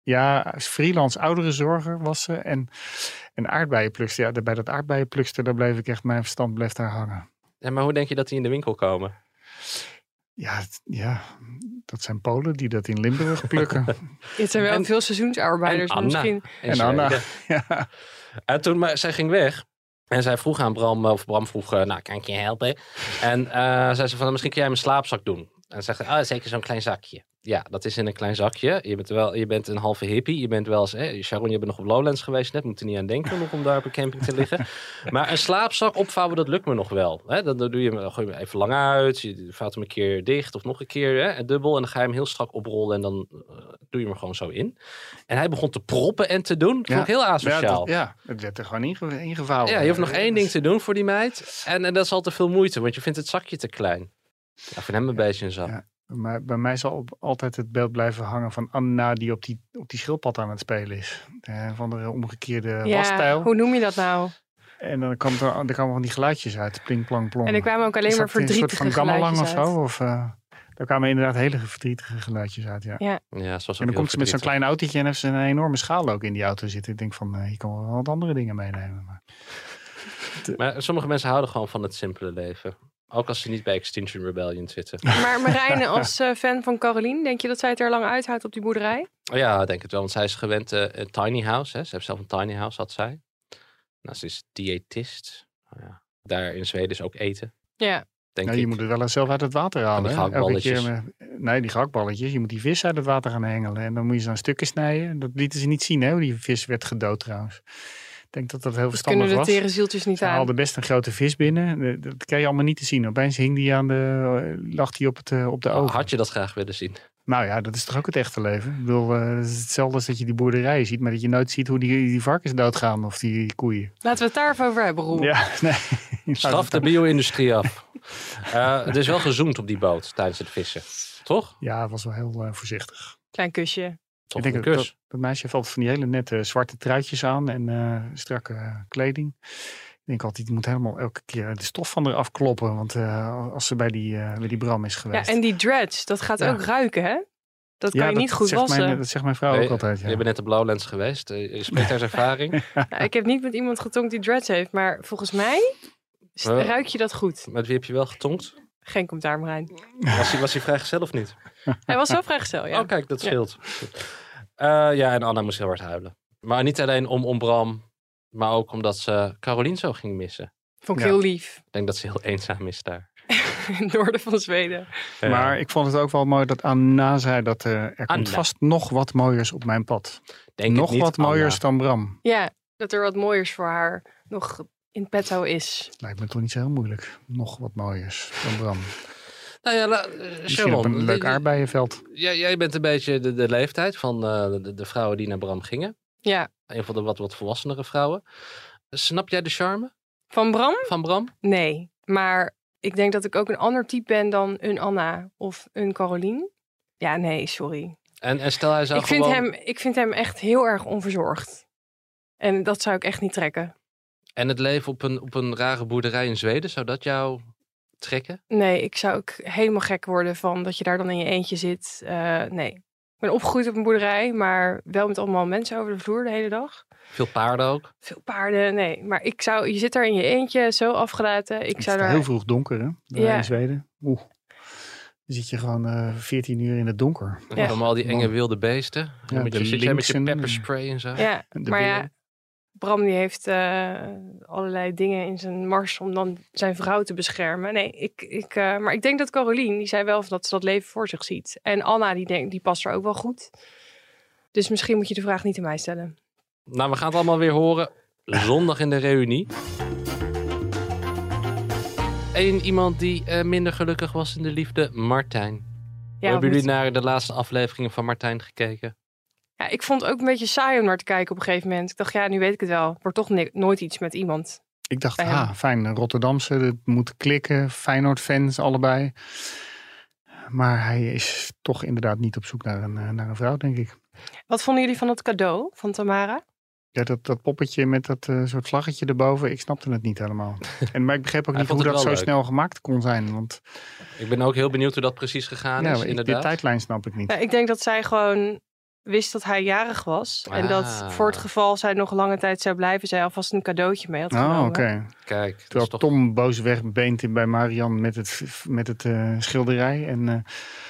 Speaker 3: je- ja, als freelance ouderenzorger was ze. En, en aardbeienplukster. Ja, bij dat aardbeienplukster, daar bleef ik echt, mijn verstand bleef daar hangen.
Speaker 4: Ja, maar hoe denk je dat die in de winkel komen?
Speaker 3: Ja, het- ja, dat zijn Polen die dat in Limburg plukken.
Speaker 8: Het zijn wel
Speaker 4: En-
Speaker 8: veel seizoensarbeiders.
Speaker 4: en
Speaker 8: maar
Speaker 4: Anna.
Speaker 8: misschien
Speaker 4: in
Speaker 3: En
Speaker 4: Zweden?
Speaker 3: Anna. Ja.
Speaker 4: En Eh, toen, maar zij ging weg. En zij vroeg aan Bram, of Bram vroeg, eh, nou, kan ik je helpen? En eh, zei ze van, misschien kun jij mijn slaapzak doen. En zegt, ah, zeker zo'n klein zakje. Ja, dat is in een klein zakje. Je bent, wel, je bent een halve hippie. Je bent wel eens, hè, Sharon, je bent nog op Lowlands geweest net. Moet er niet aan denken nog om daar op een camping te liggen. Maar een slaapzak opvouwen, dat lukt me nog wel. Hè? Dan, dan doe je hem, dan gooi je hem even lang uit. Je vouwt hem een keer dicht of nog een keer hè, en dubbel. En dan ga je hem heel strak oprollen en dan eh, doe je hem er gewoon zo in. En hij begon te proppen en te doen. Dat vond ik heel asociaal.
Speaker 3: Ja, dat- ja, het werd er gewoon inge- ingevouwen.
Speaker 4: Ja, je hoeft nog één ding te doen voor die meid. En, en dat is al te veel moeite, want je vindt het zakje te klein. Ja, van hem een beetje een zak.
Speaker 3: Ja. Maar bij mij zal op- altijd het beeld blijven hangen van Anna die op die, op die schildpad aan het spelen is. Eh, van de omgekeerde wasstijl.
Speaker 8: Ja, hoe noem je dat nou?
Speaker 3: En dan kwam er, er kwamen van die geluidjes uit. Pling, plang, plong.
Speaker 8: En er kwamen ook alleen
Speaker 3: Is
Speaker 8: maar
Speaker 3: dat een soort
Speaker 8: verdrietige
Speaker 3: van gammelang
Speaker 8: geluidjes
Speaker 3: of
Speaker 8: uit.
Speaker 3: zo? Of, eh, daar kwamen inderdaad hele verdrietige geluidjes uit, ja.
Speaker 4: Ja, zoals
Speaker 3: en dan komt ze met zo'n klein autootje en heeft ze een enorme schaal ook in die auto zitten. Ik denk van, eh, hier kan wel wat andere dingen meenemen. Maar
Speaker 4: Maar sommige mensen houden gewoon van het simpele leven. Ook als ze niet bij Extinction Rebellion zitten.
Speaker 8: Maar Marijne, als eh, fan van Caroline, denk je dat zij het er lang uithoudt op die boerderij?
Speaker 4: Oh ja, ik denk het wel, want zij is gewend eh, een tiny house. Hè. Ze heeft zelf een tiny house, had zij. Nou, ze is diëtist. Nou ja. Daar in Zweden is ook eten,
Speaker 8: Ja.
Speaker 4: denk
Speaker 3: nou, je
Speaker 4: ik.
Speaker 3: moet het wel eens zelf uit het water halen.
Speaker 4: die
Speaker 3: hè. Elke
Speaker 4: gehaktballetjes.
Speaker 3: met- nee, die gehaktballetjes. Je moet die vis uit het water gaan hengelen. En dan moet je ze aan stukken snijden. Dat lieten ze niet zien, hè, hoe die vis werd gedood trouwens. Ik denk dat dat heel
Speaker 8: Dat
Speaker 3: verstandig
Speaker 8: kunnen de
Speaker 3: was.
Speaker 8: tere zieltjes niet
Speaker 3: Ze
Speaker 8: aan.
Speaker 3: haalde best een grote vis binnen. Eh, Dat kreeg je allemaal niet te zien. Opeens hing die aan de, lag die op, het, eh, op de oven.
Speaker 4: Oh, Had je dat graag willen zien?
Speaker 3: Nou ja, dat is toch ook het echte leven? Ik bedoel, eh, het is hetzelfde als dat je die boerderijen ziet, maar dat je nooit ziet hoe die, die varkens doodgaan of die koeien.
Speaker 8: Laten we het daar even over hebben, Roel.
Speaker 3: Ja, nee.
Speaker 4: Straf de bio-industrie af. Eh er is wel gezoomd op die boot tijdens het vissen. Toch?
Speaker 3: Ja, het was wel heel eh, voorzichtig.
Speaker 8: Klein kusje.
Speaker 4: Toch
Speaker 3: ik denk
Speaker 4: een
Speaker 3: dat,
Speaker 4: kus.
Speaker 3: dat, dat meisje valt van die hele nette zwarte truitjes aan en eh, strakke eh, kleding. Ik denk altijd, die moet helemaal elke keer de stof van eraf kloppen, want eh, als ze bij die, eh, bij die Bram is
Speaker 8: Ja,
Speaker 3: geweest.
Speaker 8: en die dredge, dat gaat
Speaker 3: Ja.
Speaker 8: ook ruiken, hè? Dat kan
Speaker 3: Ja,
Speaker 8: je niet goed
Speaker 3: zegt
Speaker 8: wassen.
Speaker 3: Mijn, dat zegt mijn vrouw
Speaker 4: Nee,
Speaker 3: ook altijd. Ja.
Speaker 4: Je bent net op Blauwlands geweest. Eh, Je spreekt uit ervaring.
Speaker 8: Nou, ik heb niet met iemand getonkt die dreads heeft, maar volgens mij s-
Speaker 4: Wel.
Speaker 8: ruik je dat goed.
Speaker 4: Met wie heb je wel getonkt?
Speaker 8: Geen commentaar, Marijn.
Speaker 4: Was hij, was hij vrijgezel of niet?
Speaker 8: Hij was wel vrijgezel, ja.
Speaker 4: Oh, kijk, dat scheelt. Eh, ja, en Anna moest heel hard huilen. Maar niet alleen om, om Bram, maar ook omdat ze Carolien zo ging missen.
Speaker 8: Vond ik
Speaker 3: Ja.
Speaker 8: heel lief.
Speaker 4: Ik denk dat ze heel eenzaam is daar.
Speaker 8: in het noorden van Zweden.
Speaker 3: Maar ik vond het ook wel mooi dat Anna zei dat eh, er komt
Speaker 4: eh, Anna.
Speaker 3: vast nog wat mooiers op mijn pad.
Speaker 4: Denk het
Speaker 3: nog
Speaker 4: niet,
Speaker 3: wat mooiers
Speaker 4: Anna.
Speaker 3: dan Bram.
Speaker 8: Ja, dat er wat mooiers voor haar nog in petto is.
Speaker 3: Lijkt me toch niet zo heel moeilijk. Nog wat mooiers dan Bram.
Speaker 4: Nou ja, la- eh,
Speaker 3: Misschien op
Speaker 4: Sharon,
Speaker 3: een leuk
Speaker 4: eh,
Speaker 3: aardbeienveld.
Speaker 4: jij, jij bent een beetje de, de leeftijd van eh, de, de vrouwen die naar Bram gingen.
Speaker 8: Ja.
Speaker 4: Een van de wat, wat volwassenere vrouwen. Snap jij de charme
Speaker 8: Van Bram?
Speaker 4: van Bram?
Speaker 8: Nee. Maar ik denk dat ik ook een ander type ben dan een Anna of een Caroline. Ja, nee, sorry.
Speaker 4: En, en stel hij zou
Speaker 8: ik, vind
Speaker 4: gewoon...
Speaker 8: hem, ik vind hem echt heel erg onverzorgd. En dat zou ik echt niet trekken.
Speaker 4: En het leven op een, op een rare boerderij in Zweden, zou dat jou trekken?
Speaker 8: Nee, ik zou ook helemaal gek worden van dat je daar dan in je eentje zit. Eh, nee. Ik ben opgegroeid op een boerderij, maar wel met allemaal mensen over de vloer de hele dag.
Speaker 4: Veel paarden ook.
Speaker 8: Veel paarden, nee. Maar ik zou, je zit daar in je eentje, zo afgelaten. Ik
Speaker 3: Het
Speaker 8: zou
Speaker 3: is
Speaker 8: daar...
Speaker 3: heel vroeg donker, hè? Daar
Speaker 8: Ja.
Speaker 3: in Zweden. Oeh. Dan zit je gewoon eh 14 uur in het donker.
Speaker 4: En dan al die enge wilde beesten. En
Speaker 3: Ja,
Speaker 4: met
Speaker 3: de
Speaker 4: je, zit jij met je
Speaker 3: linksen.
Speaker 4: pepperspray en zo.
Speaker 8: Ja,
Speaker 3: De
Speaker 8: maar ja,
Speaker 3: beer.
Speaker 8: Bram die heeft eh, allerlei dingen in zijn mars om dan zijn vrouw te beschermen. Nee, ik, ik, eh, maar ik denk dat Caroline, die zei wel dat ze dat leven voor zich ziet. En Anna, die, denkt, die past er ook wel goed. Dus misschien moet je de vraag niet aan mij stellen.
Speaker 4: Nou, we gaan het allemaal weer horen. Zondag in de reunie. Eén iemand die eh, minder gelukkig was in de liefde, Martijn.
Speaker 8: Ja,
Speaker 4: Hebben jullie
Speaker 8: want-
Speaker 4: naar de laatste afleveringen van Martijn gekeken?
Speaker 8: ja, ik vond het ook een beetje saai om naar te kijken op een gegeven moment. Ik dacht, ja, nu weet ik het wel. Wordt toch ni- nooit iets met iemand.
Speaker 3: Ik dacht,
Speaker 8: Bij hem.
Speaker 3: ah, fijn, een Rotterdamse, dat moet klikken, Feyenoord-fans allebei. Maar hij is toch inderdaad niet op zoek naar een, eh, naar een vrouw, denk ik.
Speaker 8: Wat vonden jullie van het cadeau van Tamara?
Speaker 3: Ja, dat, dat poppetje met dat eh, soort vlaggetje erboven, ik snapte het niet helemaal. En, maar ik begreep ook
Speaker 4: Hij
Speaker 3: niet
Speaker 4: vond
Speaker 3: hoe
Speaker 4: het
Speaker 3: dat zo
Speaker 4: wel leuk.
Speaker 3: snel gemaakt kon zijn. Want
Speaker 4: Ik ben ook heel benieuwd hoe dat precies gegaan
Speaker 8: dus
Speaker 3: ja,
Speaker 4: is,
Speaker 3: ik- de
Speaker 4: inderdaad.
Speaker 3: tijdlijn snap ik niet.
Speaker 8: Nou, ik denk dat zij gewoon wist dat hij jarig was. En dat
Speaker 4: Ah.
Speaker 8: voor het geval zij nog lange tijd zou blijven, zij alvast een cadeautje mee had
Speaker 3: oh,
Speaker 8: genomen.
Speaker 3: oké.
Speaker 4: Kijk, dat
Speaker 3: Terwijl
Speaker 4: is toch...
Speaker 3: Tom boos wegbeent bij Marian met het, met het eh, schilderij en eh,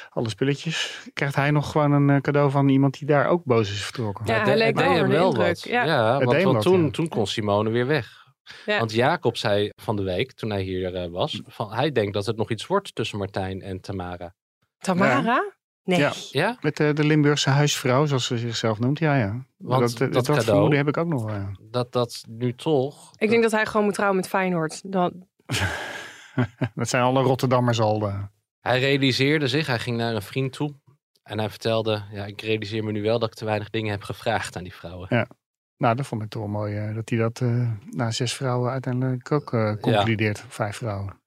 Speaker 3: alle spulletjes. Krijgt hij nog gewoon een eh, cadeau van iemand die daar ook boos is vertrokken.
Speaker 8: Ja,
Speaker 4: Maar
Speaker 8: hij
Speaker 4: de-
Speaker 8: leek
Speaker 4: maar
Speaker 8: wel
Speaker 4: je
Speaker 8: onder de indruk,
Speaker 4: wat.
Speaker 8: ja.
Speaker 4: Ja,
Speaker 3: Het
Speaker 4: want,
Speaker 3: deed
Speaker 4: want
Speaker 3: wat,
Speaker 4: toen,
Speaker 3: ja.
Speaker 4: toen kon Simone weer weg.
Speaker 8: Ja.
Speaker 4: Want Jacob zei van de week, toen hij hier eh, was, van, hij denkt dat het nog iets wordt tussen Martijn en Tamara.
Speaker 8: Tamara? Nee.
Speaker 3: Ja.
Speaker 4: Ja?
Speaker 3: Met eh, de Limburgse huisvrouw, zoals ze zichzelf noemt. Ja, ja.
Speaker 4: Want
Speaker 3: dat, eh,
Speaker 4: dat
Speaker 3: dat,
Speaker 4: cadeau-
Speaker 3: vermoeden heb ik ook nog wel. ja.
Speaker 4: Dat dat nu toch...
Speaker 8: Ik denk dat hij gewoon moet trouwen met Feyenoord. Dan,
Speaker 3: Dat zijn alle Rotterdammers al. eh.
Speaker 4: Hij realiseerde zich, hij ging naar een vriend toe. En hij vertelde, ja, ik realiseer me nu wel dat ik te weinig dingen heb gevraagd aan die vrouwen.
Speaker 3: Nou, dat vond ik toch wel mooi. eh, dat hij dat eh, na zes vrouwen uiteindelijk ook eh, concludeert. Vijf vrouwen.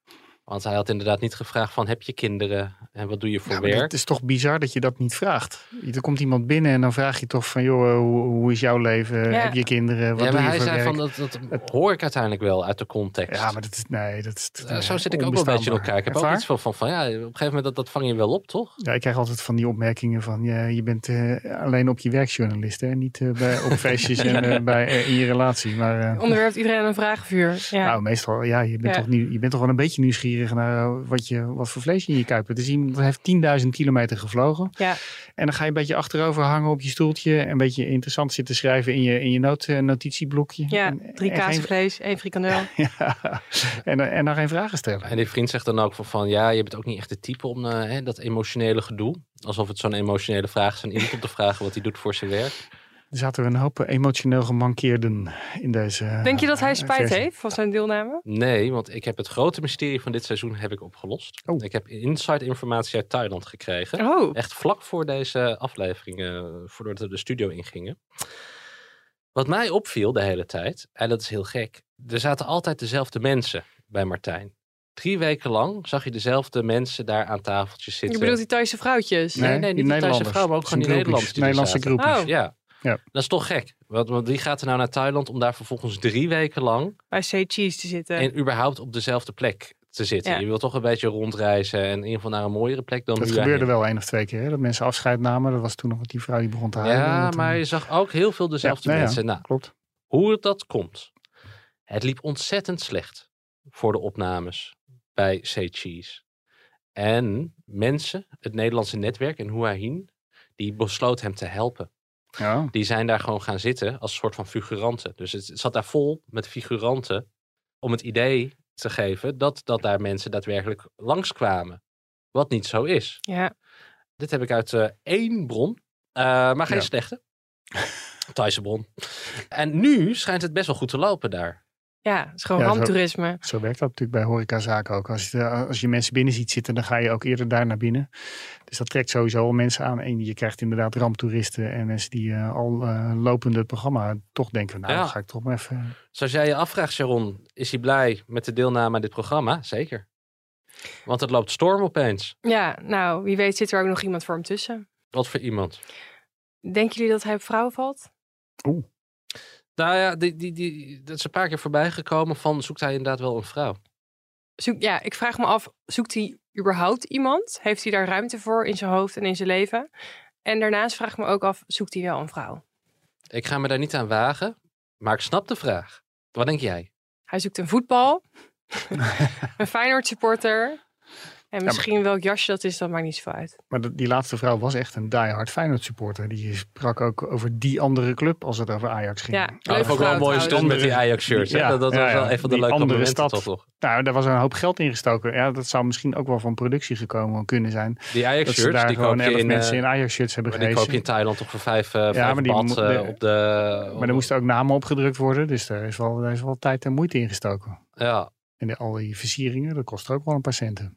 Speaker 4: Want hij had inderdaad niet gevraagd van, heb je kinderen? En wat doe je voor
Speaker 3: Ja, maar
Speaker 4: werk?
Speaker 3: het is toch bizar dat je dat niet vraagt. Er komt iemand binnen en dan vraag je toch van... joh, eh, hoe, hoe is jouw leven?
Speaker 8: Ja.
Speaker 3: Heb je kinderen? eh, Wat
Speaker 4: ja,
Speaker 3: doe
Speaker 4: maar
Speaker 3: je
Speaker 4: hij
Speaker 3: voor
Speaker 4: zei
Speaker 3: werk?
Speaker 4: van, dat, dat hoor ik uiteindelijk wel uit de context.
Speaker 3: Ja, maar dat is... Nee, dat is...
Speaker 4: Eh, zo
Speaker 3: eh,
Speaker 4: zit ik ook wel een beetje in elkaar. Ik heb
Speaker 3: Echt
Speaker 4: ook
Speaker 3: waar?
Speaker 4: iets van, van, van ja, op een gegeven moment dat, dat vang je wel op, toch?
Speaker 3: Ja, ik krijg altijd van die opmerkingen van ja, je bent eh, alleen op je werkjournalist hè, niet eh, bij, op feestjes en eh, bij, eh, in je relatie. Maar eh,
Speaker 8: onderwerpt iedereen een vragenvuur. Ja.
Speaker 3: nou, meestal, ja, je bent,
Speaker 8: Ja.
Speaker 3: Toch nieuw, je bent toch wel een beetje nieuwsgierig naar eh, wat, je, wat voor vlees je in je kuip hebt. Dus iemand heeft 10.000 kilometer gevlogen
Speaker 8: ja.
Speaker 3: en dan ga je een beetje achterover hangen op je stoeltje. Een beetje interessant zitten schrijven in je, in je noot, eh, notitieblokje.
Speaker 8: ja,
Speaker 3: en,
Speaker 8: drie
Speaker 3: en geen-
Speaker 8: kaasvlees, één frikandel.
Speaker 3: ja, en, dan- en dan geen vragen stellen.
Speaker 4: En die vriend zegt dan ook van, van ja, je bent ook niet echt de type om eh, hè, dat emotionele gedoe. Alsof het zo'n emotionele vraag is aan iemand om te vragen wat hij doet voor zijn werk.
Speaker 3: Er zaten een hoop emotioneel gemankeerden in deze eh,
Speaker 8: Denk je dat hij
Speaker 3: eh,
Speaker 8: spijt
Speaker 3: versie.
Speaker 8: heeft van zijn deelname?
Speaker 4: Nee, want ik heb het grote mysterie van dit seizoen heb ik opgelost.
Speaker 3: Oh.
Speaker 4: Ik heb inside informatie uit Thailand gekregen.
Speaker 8: Oh,
Speaker 4: Echt vlak voor deze aflevering, eh, voordat we de studio ingingen. Wat mij opviel de hele tijd, en dat is heel gek. Er zaten altijd dezelfde mensen bij Martijn. Drie weken lang zag je dezelfde mensen daar aan tafeltjes
Speaker 8: je
Speaker 4: zitten.
Speaker 8: bedoelt die Thaise vrouwtjes?
Speaker 4: Nee, nee, niet die Thaise vrouw, maar ook gewoon die Nederlanders die er
Speaker 3: Nederlandse
Speaker 4: zaten.
Speaker 3: groepjes.
Speaker 8: Oh,
Speaker 4: Ja.
Speaker 3: Ja.
Speaker 4: Dat is toch gek. Want, want wie gaat er nou naar Thailand om daar vervolgens drie weken lang
Speaker 8: bij Say Cheese te zitten.
Speaker 4: en überhaupt op dezelfde plek te zitten?
Speaker 8: Ja.
Speaker 4: Je wilt toch een beetje rondreizen en in ieder geval naar een mooiere plek dan
Speaker 3: Dat
Speaker 4: nu
Speaker 3: gebeurde wel één of twee keer. Hè? Dat mensen afscheid namen. Dat was toen nog met die vrouw die begon te huilen.
Speaker 4: Ja,
Speaker 3: Dat, eh,
Speaker 4: maar je zag ook heel veel dezelfde
Speaker 3: Ja, nou ja.
Speaker 4: mensen. Nou,
Speaker 3: Klopt.
Speaker 4: hoe dat komt. Het liep ontzettend slecht voor de opnames bij Say Cheese. En mensen, het Nederlandse netwerk en Houahin, die besloot hem te helpen.
Speaker 3: Ja.
Speaker 4: Die zijn daar gewoon gaan zitten als soort van figuranten. Dus het, het zat daar vol met figuranten om het idee te geven dat, dat daar mensen daadwerkelijk langskwamen. Wat niet zo is.
Speaker 8: Ja.
Speaker 4: Dit heb ik uit eh, één bron, eh, maar geen
Speaker 3: Ja.
Speaker 4: slechte. Thaise bron. En nu schijnt het best wel goed te lopen daar.
Speaker 8: Ja, het is gewoon
Speaker 3: Ja, zo-
Speaker 8: ramptoerisme.
Speaker 3: Zo werkt dat natuurlijk bij horecazaken ook. Als je, als je mensen binnen ziet zitten, dan ga je ook eerder daar naar binnen. Dus dat trekt sowieso al mensen aan. En je krijgt inderdaad ramptoeristen en mensen die eh, al eh, lopende het programma toch denken, nou,
Speaker 4: Ja.
Speaker 3: dan ga ik toch maar even...
Speaker 4: Dus als jij je afvraagt, Sharon, is hij blij met de deelname aan dit programma? Zeker. Want het loopt storm opeens.
Speaker 8: Ja, nou, wie weet zit er ook nog iemand voor hem tussen.
Speaker 4: Wat voor iemand.
Speaker 8: Denken jullie dat hij op vrouwen valt?
Speaker 4: Nou ja, die, die, die, dat is een paar keer voorbij gekomen van zoekt hij inderdaad wel een vrouw.
Speaker 8: Zoek, ja, ik vraag me af, zoekt hij überhaupt iemand? Heeft hij daar ruimte voor in zijn hoofd en in zijn leven? En daarnaast vraag ik me ook af, zoekt hij wel een vrouw?
Speaker 4: Ik ga me daar niet aan wagen, maar ik snap de vraag. Wat denk jij?
Speaker 8: Hij zoekt een voetbal, een Feyenoord supporter. En misschien welk jasje dat is, dat maakt niet zoveel uit.
Speaker 3: Maar dat- die laatste vrouw was echt een diehard Feyenoord supporter. Die sprak ook over die andere club als het over Ajax ging. Oh,
Speaker 8: Ja,
Speaker 4: Nou, dat vond ik wel een mooie stond met die Ajax-shirt. hè?
Speaker 3: Ja,
Speaker 4: dat dat
Speaker 3: ja,
Speaker 4: was wel
Speaker 3: ja.
Speaker 4: een van de
Speaker 3: Die
Speaker 4: leuke
Speaker 3: andere
Speaker 4: momenten
Speaker 3: stad.
Speaker 4: toch nog.
Speaker 3: Nou, daar was een hoop geld in gestoken. Ja, dat zou misschien ook wel van productie gekomen kunnen zijn.
Speaker 4: Die
Speaker 3: Dat ze
Speaker 4: Ajax-shirts,
Speaker 3: daar
Speaker 4: die
Speaker 3: gewoon
Speaker 4: koop je
Speaker 3: elf
Speaker 4: in,
Speaker 3: mensen
Speaker 4: eh,
Speaker 3: in Ajax-shirts hebben
Speaker 4: Maar die koop je in
Speaker 3: gehezen.
Speaker 4: Thailand toch voor vijf, eh vijf
Speaker 3: maar die
Speaker 4: bad,
Speaker 3: moet-
Speaker 4: eh,
Speaker 3: de-
Speaker 4: op de...
Speaker 3: Maar er moest ook namen op gedrukt worden. Dus daar is wel, daar is wel tijd en moeite in gestoken.
Speaker 4: Ja,
Speaker 3: En de- al die versieringen, dat kost ook wel een paar centen.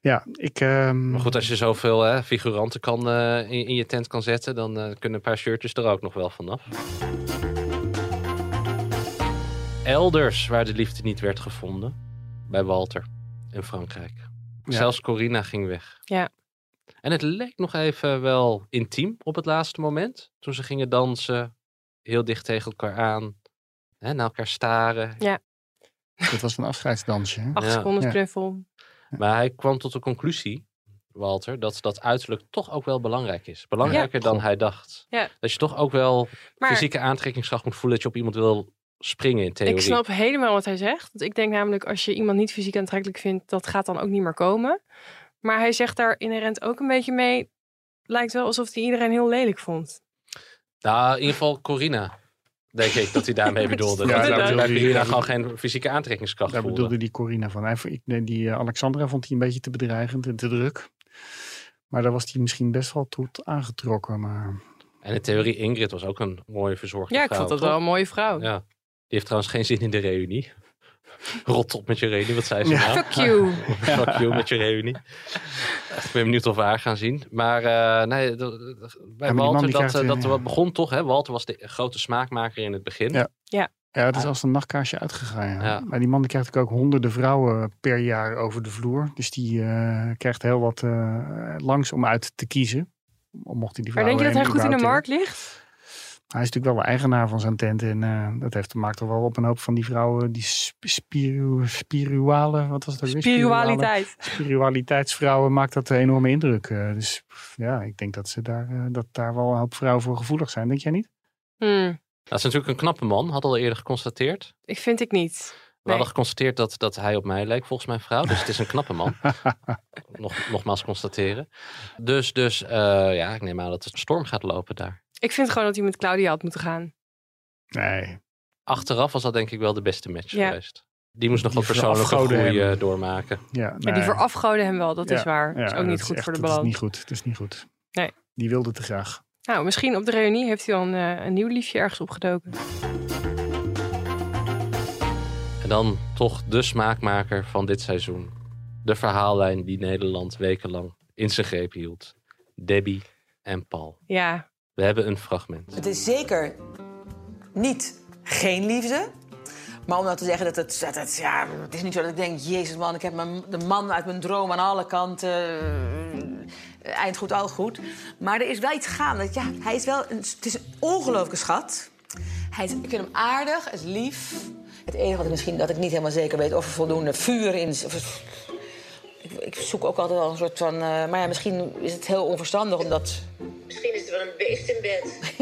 Speaker 3: Ja, ik... ehm,
Speaker 4: maar goed, als je zoveel hè, figuranten kan, eh, in, in je tent kan zetten, dan eh, kunnen een paar shirtjes er ook nog wel vanaf. Elders waar de liefde niet werd gevonden, bij Walter in Frankrijk.
Speaker 3: Ja.
Speaker 4: Zelfs Corina ging weg.
Speaker 8: Ja.
Speaker 4: En het leek nog even wel intiem op het laatste moment. Toen ze gingen dansen, heel dicht tegen elkaar aan, hè, naar elkaar staren.
Speaker 3: Dat was een afscheidsdansje. hè?
Speaker 8: Acht
Speaker 4: Ja.
Speaker 8: seconden
Speaker 3: Ja.
Speaker 8: knuffel.
Speaker 4: Maar hij kwam tot de conclusie, Walter, dat dat uiterlijk toch ook wel belangrijk is. Belangrijker dan hij dacht.
Speaker 8: Ja.
Speaker 4: Dat je toch ook wel
Speaker 8: Maar
Speaker 4: fysieke aantrekkingskracht moet voelen dat je op iemand wil springen in theorie.
Speaker 8: ik snap helemaal wat hij zegt. Want ik denk namelijk, als je iemand niet fysiek aantrekkelijk vindt, dat gaat dan ook niet meer komen. Maar hij zegt daar inherent ook een beetje mee, lijkt wel alsof hij iedereen heel lelijk vond.
Speaker 4: Nou, in ieder geval Corina. Denk ik dat hij daarmee bedoelde.
Speaker 3: Ja,
Speaker 4: dat
Speaker 3: daar
Speaker 4: hij
Speaker 3: bedoelde
Speaker 4: bij
Speaker 3: hij-
Speaker 4: Corina
Speaker 3: daar
Speaker 4: gewoon geen fysieke aantrekkingskracht
Speaker 3: Daar
Speaker 4: voelde.
Speaker 3: bedoelde die Corina van. Hij, vo- ik- nee, die eh, Alexandra vond hij een beetje te bedreigend en te druk. Maar daar was hij misschien best wel tot aangetrokken. Maar
Speaker 4: En in theorie Ingrid was ook een mooie verzorgde
Speaker 8: Ja, ik
Speaker 4: vrouw,
Speaker 8: vond dat
Speaker 4: toch?
Speaker 8: wel een mooie vrouw.
Speaker 4: Ja. Die heeft trouwens geen zin in de reunie. Rot op met je reunie, wat zei ze
Speaker 3: Ja.
Speaker 4: nou?
Speaker 8: Fuck you.
Speaker 4: Fuck you met je reunie. Ik ben benieuwd of we haar gaan zien. Maar eh, nee, dat- bij
Speaker 3: die man
Speaker 4: Walter,
Speaker 3: die
Speaker 4: dat,
Speaker 3: krijgt,
Speaker 4: eh,
Speaker 3: eh,
Speaker 4: dat wat begon toch. Hè? Walter was de grote smaakmaker in het begin. Nou,
Speaker 3: Ja. ja, het is
Speaker 4: Ah.
Speaker 3: als een nachtkaarsje uitgegaan. ja.
Speaker 4: Ja.
Speaker 3: Maar die man die krijgt natuurlijk ook honderden vrouwen per jaar over de vloer. Dus die eh, krijgt heel wat eh, langs om uit te kiezen. Om- Mocht hij die
Speaker 8: Maar denk
Speaker 3: vrouwen
Speaker 8: je dat hij
Speaker 3: hem
Speaker 8: goed in de
Speaker 3: überhaupt
Speaker 8: markt ligt?
Speaker 3: Hij is natuurlijk wel de eigenaar van zijn tent. En eh, dat heeft, maakt er wel op een hoop van die vrouwen, die sp- spiru, spiruale, wat was het ook weer? Spiruale-
Speaker 8: Spiritualiteit.
Speaker 3: Spiritualiteitsvrouwen maakt dat een enorme indruk. Eh, dus pff, ja, ik denk dat, ze daar, eh, dat daar wel een hoop vrouwen voor gevoelig zijn. Denk jij niet?
Speaker 8: Hmm,
Speaker 4: Dat is natuurlijk een knappe man, had al eerder geconstateerd. We
Speaker 8: ik vind ik niet.
Speaker 4: hadden geconstateerd dat, dat hij op mij leek, volgens mijn vrouw. Dus het is een knappe man. Nog, nogmaals constateren. Dus, dus eh, ja, ik neem aan dat het storm gaat lopen daar.
Speaker 8: Ik vind gewoon dat hij met Claudia had moeten gaan.
Speaker 3: Nee.
Speaker 4: Achteraf was dat denk ik wel de beste match
Speaker 8: Ja.
Speaker 4: geweest. Die moest nog
Speaker 3: Die
Speaker 4: wat persoonlijke
Speaker 3: verafgoden
Speaker 4: groei
Speaker 3: hem.
Speaker 4: eh, doormaken.
Speaker 3: Ja,
Speaker 8: Ja,
Speaker 3: nee.
Speaker 8: die verafgoden hem wel, dat
Speaker 3: Ja,
Speaker 8: is waar.
Speaker 3: Ja,
Speaker 8: dat is ook niet
Speaker 3: is
Speaker 8: goed
Speaker 3: echt-
Speaker 8: voor de
Speaker 3: Dat is
Speaker 8: balans.
Speaker 3: niet goed. Dat is niet goed.
Speaker 8: Nee.
Speaker 3: Die wilde te graag.
Speaker 8: Nou, misschien op de reunie heeft hij al een, eh, een nieuw liefje ergens opgedoken.
Speaker 4: En dan toch de smaakmaker van dit seizoen. De verhaallijn die Nederland wekenlang in zijn greep hield. Debbie en Paul.
Speaker 8: Ja,
Speaker 4: We hebben een fragment.
Speaker 12: Het is zeker niet geen liefde. Maar om nou te zeggen dat het... Dat het, ja, het is niet zo dat ik denk... Jezus man, ik heb mijn, de man uit mijn droom aan alle kanten. eh, Eind goed, al goed. Maar er is wel iets gaande. Ja, hij is wel een, het is een ongelooflijke schat. Hij is, ik vind hem aardig, hij is lief. Het enige wat ik misschien dat ik niet helemaal zeker weet... of er voldoende vuur in... is, of- ik, ik zoek ook altijd wel een soort van... eh, maar ja, misschien is het heel onverstandig omdat...
Speaker 11: Misschien is het wel een beest in bed.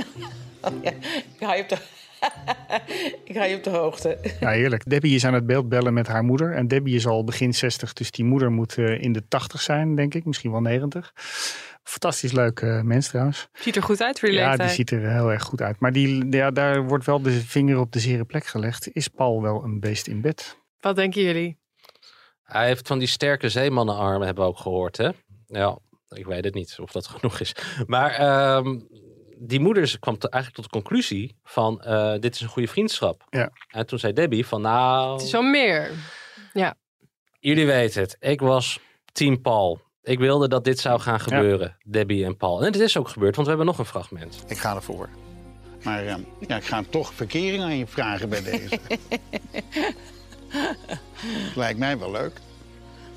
Speaker 12: Oh ja, ik ga je op de, ik ga je op de hoogte.
Speaker 3: Ja, heerlijk. Debbie is aan het beeld bellen met haar moeder. En Debbie is al begin 60, dus die moeder moet eh, in de 80 zijn, denk ik. Misschien wel 90. Fantastisch leuk eh, mens trouwens.
Speaker 8: ziet er goed uit voor die
Speaker 3: Ja, die
Speaker 8: leeftijd.
Speaker 3: ziet er heel erg goed uit. Maar die, ja, daar wordt wel de vinger op de zere plek gelegd. Is Paul wel een beest in bed?
Speaker 8: Wat denken jullie?
Speaker 4: Hij heeft van die sterke zeemannenarmen, hebben we ook gehoord, hè? Ja, ik weet het niet of dat genoeg is. Maar ehm, die moeder kwam te- eigenlijk tot de conclusie van, eh, dit is een goede vriendschap.
Speaker 3: Ja.
Speaker 4: En toen zei Debbie van, nou,
Speaker 8: Het is al meer. Ja.
Speaker 4: jullie weten het. Ik was team Paul. Ik wilde dat dit zou gaan gebeuren, Debbie en Paul. En het is ook gebeurd, want we hebben nog een fragment.
Speaker 13: Ik ga ervoor. Maar eh, ja, ik ga hem toch verkering aan je vragen bij deze. Lijkt mij wel leuk.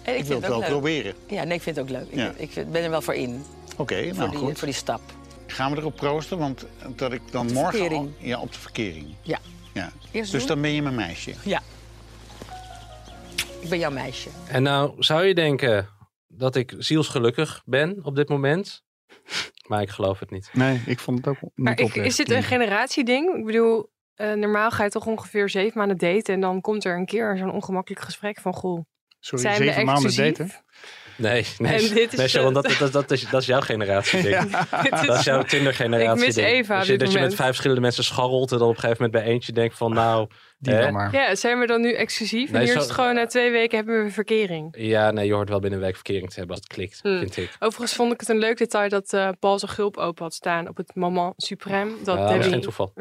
Speaker 12: En
Speaker 13: Ik wil
Speaker 12: vind
Speaker 13: het wel
Speaker 12: ook leuk.
Speaker 13: proberen.
Speaker 12: Ja, nee, ik vind het ook leuk. Ik-
Speaker 13: Ja.
Speaker 12: Ik, vind- ben er wel voor in.
Speaker 13: Oké,
Speaker 12: voor,
Speaker 13: nou
Speaker 12: die,
Speaker 13: goed.
Speaker 12: voor die stap.
Speaker 13: Gaan we erop proosten, want dat ik dan
Speaker 12: Op de
Speaker 13: morgen... al-
Speaker 12: verkering.
Speaker 13: ja, op de verkering.
Speaker 12: Ja.
Speaker 13: Ja.
Speaker 12: Eerst
Speaker 13: Dus
Speaker 12: doen?
Speaker 13: dan ben je mijn meisje.
Speaker 12: Ja. Ik ben jouw meisje.
Speaker 4: En nou zou je denken dat ik zielsgelukkig ben op dit moment. Maar ik geloof het niet.
Speaker 3: Nee, ik vond het ook niet
Speaker 8: Maar ik, is dit een generatieding? Ik bedoel, eh, normaal ga je toch ongeveer zeven maanden daten. En dan komt er een keer zo'n ongemakkelijk gesprek van... Goh,
Speaker 3: Sorry,
Speaker 8: zijn we
Speaker 3: zeven maanden
Speaker 8: exclusief?
Speaker 3: daten?
Speaker 4: Nee, nee,
Speaker 8: En dit is
Speaker 4: nee Sharon,
Speaker 8: de-
Speaker 4: dat, dat, dat, is, dat is jouw generatie, denk ik.
Speaker 8: Dit is-
Speaker 4: Dat is jouw Tinder-generatie.
Speaker 8: Ik mis
Speaker 4: denk
Speaker 8: Eva op
Speaker 4: Dus je-
Speaker 8: dit
Speaker 4: dat je met
Speaker 8: moment.
Speaker 4: vijf verschillende mensen scharrelt en dan op een gegeven moment bij eentje denkt van nou...
Speaker 3: Die
Speaker 4: hè?
Speaker 3: dan maar.
Speaker 8: Ja, zijn we dan nu exclusief?
Speaker 4: Nee,
Speaker 8: en hier
Speaker 4: zo-
Speaker 8: is het gewoon na twee weken hebben we verkering.
Speaker 4: Ja, nee, je hoort wel binnen een week verkering te hebben als het klikt,
Speaker 8: Hmm.
Speaker 4: vind ik.
Speaker 8: Overigens vond ik het een leuk detail dat eh, Paul zijn gulp open had staan op het moment suprême. Dat
Speaker 4: Ja, dat is
Speaker 8: Debbie...
Speaker 4: geen toeval.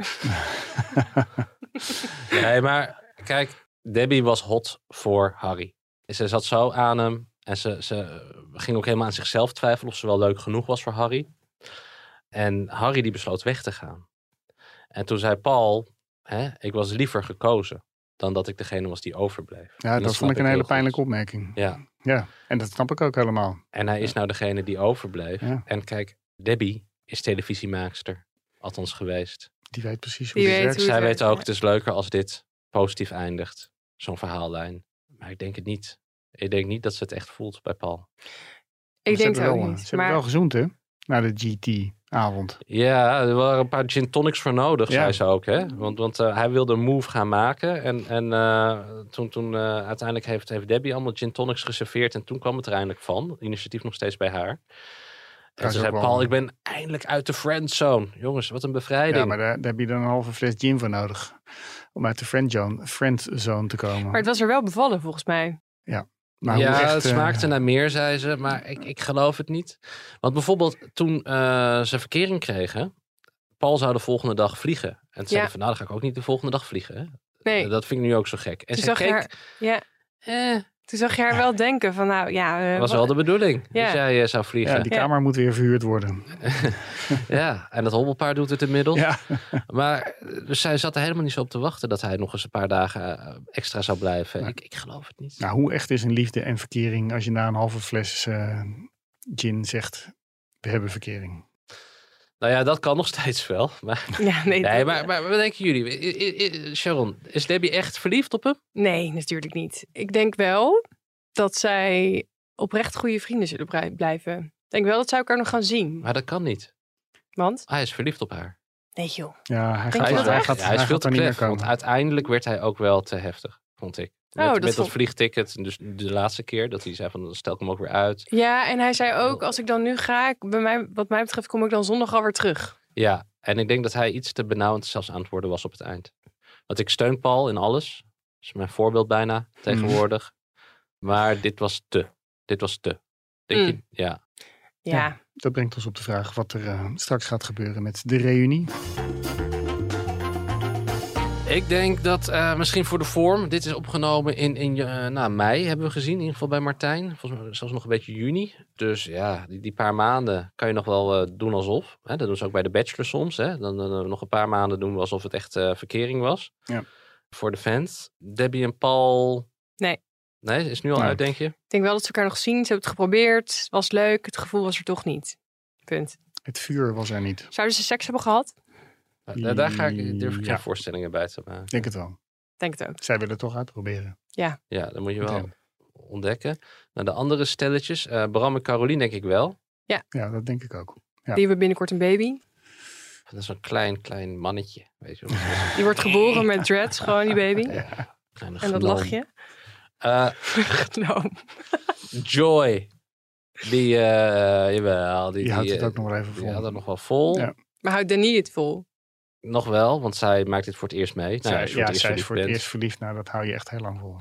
Speaker 4: nee, maar kijk, Debbie was hot voor Harry. Ze zat zo aan hem en ze, ze ging ook helemaal aan zichzelf twijfelen of ze wel leuk genoeg was voor Harry. En Harry die besloot weg te gaan. En toen zei Paul, hè, ik was liever gekozen dan dat ik degene was die overbleef. En
Speaker 3: Ja, dat,
Speaker 4: snap
Speaker 3: vond ik een
Speaker 4: heel
Speaker 3: hele
Speaker 4: goed.
Speaker 3: pijnlijke opmerking.
Speaker 4: Ja.
Speaker 3: Ja, en dat snap ik ook helemaal.
Speaker 4: En hij is nou degene die overbleef.
Speaker 3: Ja.
Speaker 4: En kijk, Debbie is televisiemaakster. Althans geweest.
Speaker 3: Die weet precies hoe
Speaker 8: Die
Speaker 3: het
Speaker 8: weet
Speaker 3: werkt.
Speaker 8: hoe
Speaker 4: Zij
Speaker 8: het
Speaker 4: weet
Speaker 8: werkt,
Speaker 4: ook,
Speaker 8: ja.
Speaker 4: het is leuker als dit positief eindigt. Zo'n verhaallijn. Maar ik denk het niet. Ik denk niet dat ze het echt voelt bij Paul.
Speaker 8: Ik
Speaker 3: Ze
Speaker 8: denk
Speaker 3: hebben
Speaker 8: het ook
Speaker 3: wel,
Speaker 8: niet.
Speaker 3: Ze hebben
Speaker 8: Maar
Speaker 3: wel gezoend, hè? Na de GT-avond.
Speaker 4: Ja, er waren een paar gin tonics voor nodig,
Speaker 3: Ja. Mm.
Speaker 4: zei ze ook. Hè? Want, want eh, hij wilde een move gaan maken. En, en eh, toen, toen eh, uiteindelijk heeft, heeft Debbie allemaal gin tonics geserveerd. En toen kwam het er eindelijk van. Initiatief nog steeds bij haar. En
Speaker 3: is
Speaker 4: ze
Speaker 3: ook
Speaker 4: zei,
Speaker 3: wel-
Speaker 4: Paul, ik ben eindelijk uit de friendzone. Jongens, wat een bevrijding.
Speaker 3: Ja, maar daar, daar heb je dan een halve fles gin voor nodig. Om uit de friendzone, friendzone te komen.
Speaker 8: Maar het was er wel bevallen volgens mij.
Speaker 3: ja, maar
Speaker 4: ja,
Speaker 3: hoe echt,
Speaker 4: het
Speaker 3: eh,
Speaker 4: smaakte naar meer, zei ze, maar ik, ik geloof het niet. Want bijvoorbeeld toen eh, ze verkering kregen, Paul zou de volgende dag vliegen. En toen zei
Speaker 8: Ja.
Speaker 4: hij van, nou, dan ga ik ook niet de volgende dag vliegen. Hè?
Speaker 8: Nee,
Speaker 4: Dat vind ik nu ook zo gek. En
Speaker 8: toen
Speaker 4: ze
Speaker 8: zag, je
Speaker 4: keek,
Speaker 8: haar, ja, eh, toen zag je haar wel denken van nou ja... eh,
Speaker 4: dat was
Speaker 8: wat-
Speaker 4: wel de bedoeling
Speaker 8: Ja.
Speaker 4: dat jij eh, zou vliegen.
Speaker 3: ja,
Speaker 4: Ja,
Speaker 3: die kamer moet weer verhuurd worden.
Speaker 4: en dat hobbelpaard doet het inmiddels.
Speaker 3: Ja.
Speaker 4: Maar eh, dus zij zat er helemaal niet zo op te wachten dat hij nog eens een paar dagen eh, extra zou blijven. Ik, ik geloof het niet.
Speaker 3: Nou, hoe echt is een liefde en verkering als je na een halve fles eh, gin zegt, we hebben verkering?
Speaker 4: Nou ja, dat kan nog steeds wel. Maar...
Speaker 8: Ja, nee,
Speaker 4: Nee,
Speaker 8: dat-
Speaker 4: maar, maar wat denken jullie? I- I- I- Sharon, is Debbie echt verliefd op hem?
Speaker 8: nee, natuurlijk niet. Ik denk wel dat zij oprecht goede vrienden zullen brij- blijven. Ik denk wel dat zij elkaar nog gaan zien.
Speaker 4: Maar dat kan niet.
Speaker 8: Want,
Speaker 4: Hij is verliefd op haar.
Speaker 8: nee joh.
Speaker 3: Ja, hij
Speaker 8: Denk
Speaker 3: gaat,
Speaker 8: je
Speaker 3: hij
Speaker 8: dat echt?
Speaker 3: gaat,
Speaker 4: Ja, hij is
Speaker 3: hij
Speaker 4: veel
Speaker 3: gaat
Speaker 4: te
Speaker 3: er niet meer
Speaker 4: klef.
Speaker 3: komen.
Speaker 4: Want uiteindelijk werd hij ook wel te heftig, vond ik. Met,
Speaker 8: Oh, dat
Speaker 4: met dat
Speaker 8: vond-
Speaker 4: vliegticket, dus de laatste keer dat hij zei van, dan stel ik hem ook weer uit.
Speaker 8: Ja, en hij zei ook, als ik dan nu ga, ik- bij mij, wat mij betreft kom ik dan zondag alweer terug.
Speaker 4: Ja, en ik denk dat hij iets te benauwend zelfs aan het worden was op het eind. Want ik steun Paul in alles. Dat is mijn voorbeeld bijna
Speaker 3: Mm.
Speaker 4: tegenwoordig. Maar dit was te. Dit was te. Denk
Speaker 8: Mm.
Speaker 4: je? Ja.
Speaker 8: Ja.
Speaker 3: Dat brengt ons op de vraag wat er eh, straks gaat gebeuren met de reunie.
Speaker 4: Ik denk dat eh, misschien voor de vorm. Dit is opgenomen in, in eh, nou, mei, hebben we gezien. In ieder geval bij Martijn. Volgens mij zelfs nog een beetje juni. Dus ja, die, die paar maanden kan je nog wel eh, doen alsof. Hè? Dat doen ze ook bij de Bachelor soms. Hè? Dan, dan, eh, nog een paar maanden doen we alsof het echt eh, verkering was.
Speaker 3: Ja.
Speaker 4: Voor de fans. Debbie en Paul.
Speaker 8: Nee.
Speaker 4: Nee, is nu al
Speaker 3: Nee.
Speaker 4: uit, denk je?
Speaker 8: Ik denk wel dat ze elkaar nog zien. Ze hebben het geprobeerd. Het was leuk. Het gevoel was er toch niet. Punt.
Speaker 3: Het vuur was er niet.
Speaker 8: Zouden ze seks hebben gehad?
Speaker 4: Nou, daar- daar ga ik, durf ik geen
Speaker 3: Ja.
Speaker 4: voorstellingen bij te maken.
Speaker 3: Ik denk het wel.
Speaker 8: Denk het ook.
Speaker 3: Zij willen het toch uitproberen.
Speaker 4: Ja, dat moet je
Speaker 3: Goed,
Speaker 4: wel ontdekken. Nou, de andere stelletjes. eh, Bram en Caroline denk ik wel.
Speaker 3: Ja, dat denk ik ook. Ja.
Speaker 8: Die hebben binnenkort een baby.
Speaker 4: Dat is zo'n klein, klein mannetje. Weet je wel.
Speaker 8: Die wordt geboren met dreads, gewoon die baby.
Speaker 4: Kleine
Speaker 8: En dat
Speaker 4: gnoom.
Speaker 8: lachje.
Speaker 4: Eh,
Speaker 8: Genoom.
Speaker 4: Joy. Die, eh, jawel. Die,
Speaker 3: Die houdt
Speaker 4: die,
Speaker 3: het
Speaker 4: eh,
Speaker 3: ook nog wel even
Speaker 4: die
Speaker 3: vol.
Speaker 4: houdt het nog wel vol.
Speaker 3: Ja.
Speaker 8: Maar houdt Danny het vol?
Speaker 4: Nog wel, want zij maakt dit voor het eerst mee. Nou,
Speaker 3: Zij-
Speaker 4: als je
Speaker 3: ja, zij
Speaker 4: het
Speaker 3: is
Speaker 4: eerst
Speaker 3: voor het
Speaker 4: verliefd
Speaker 3: eerst verliefd. Nou, dat hou je echt heel lang vol.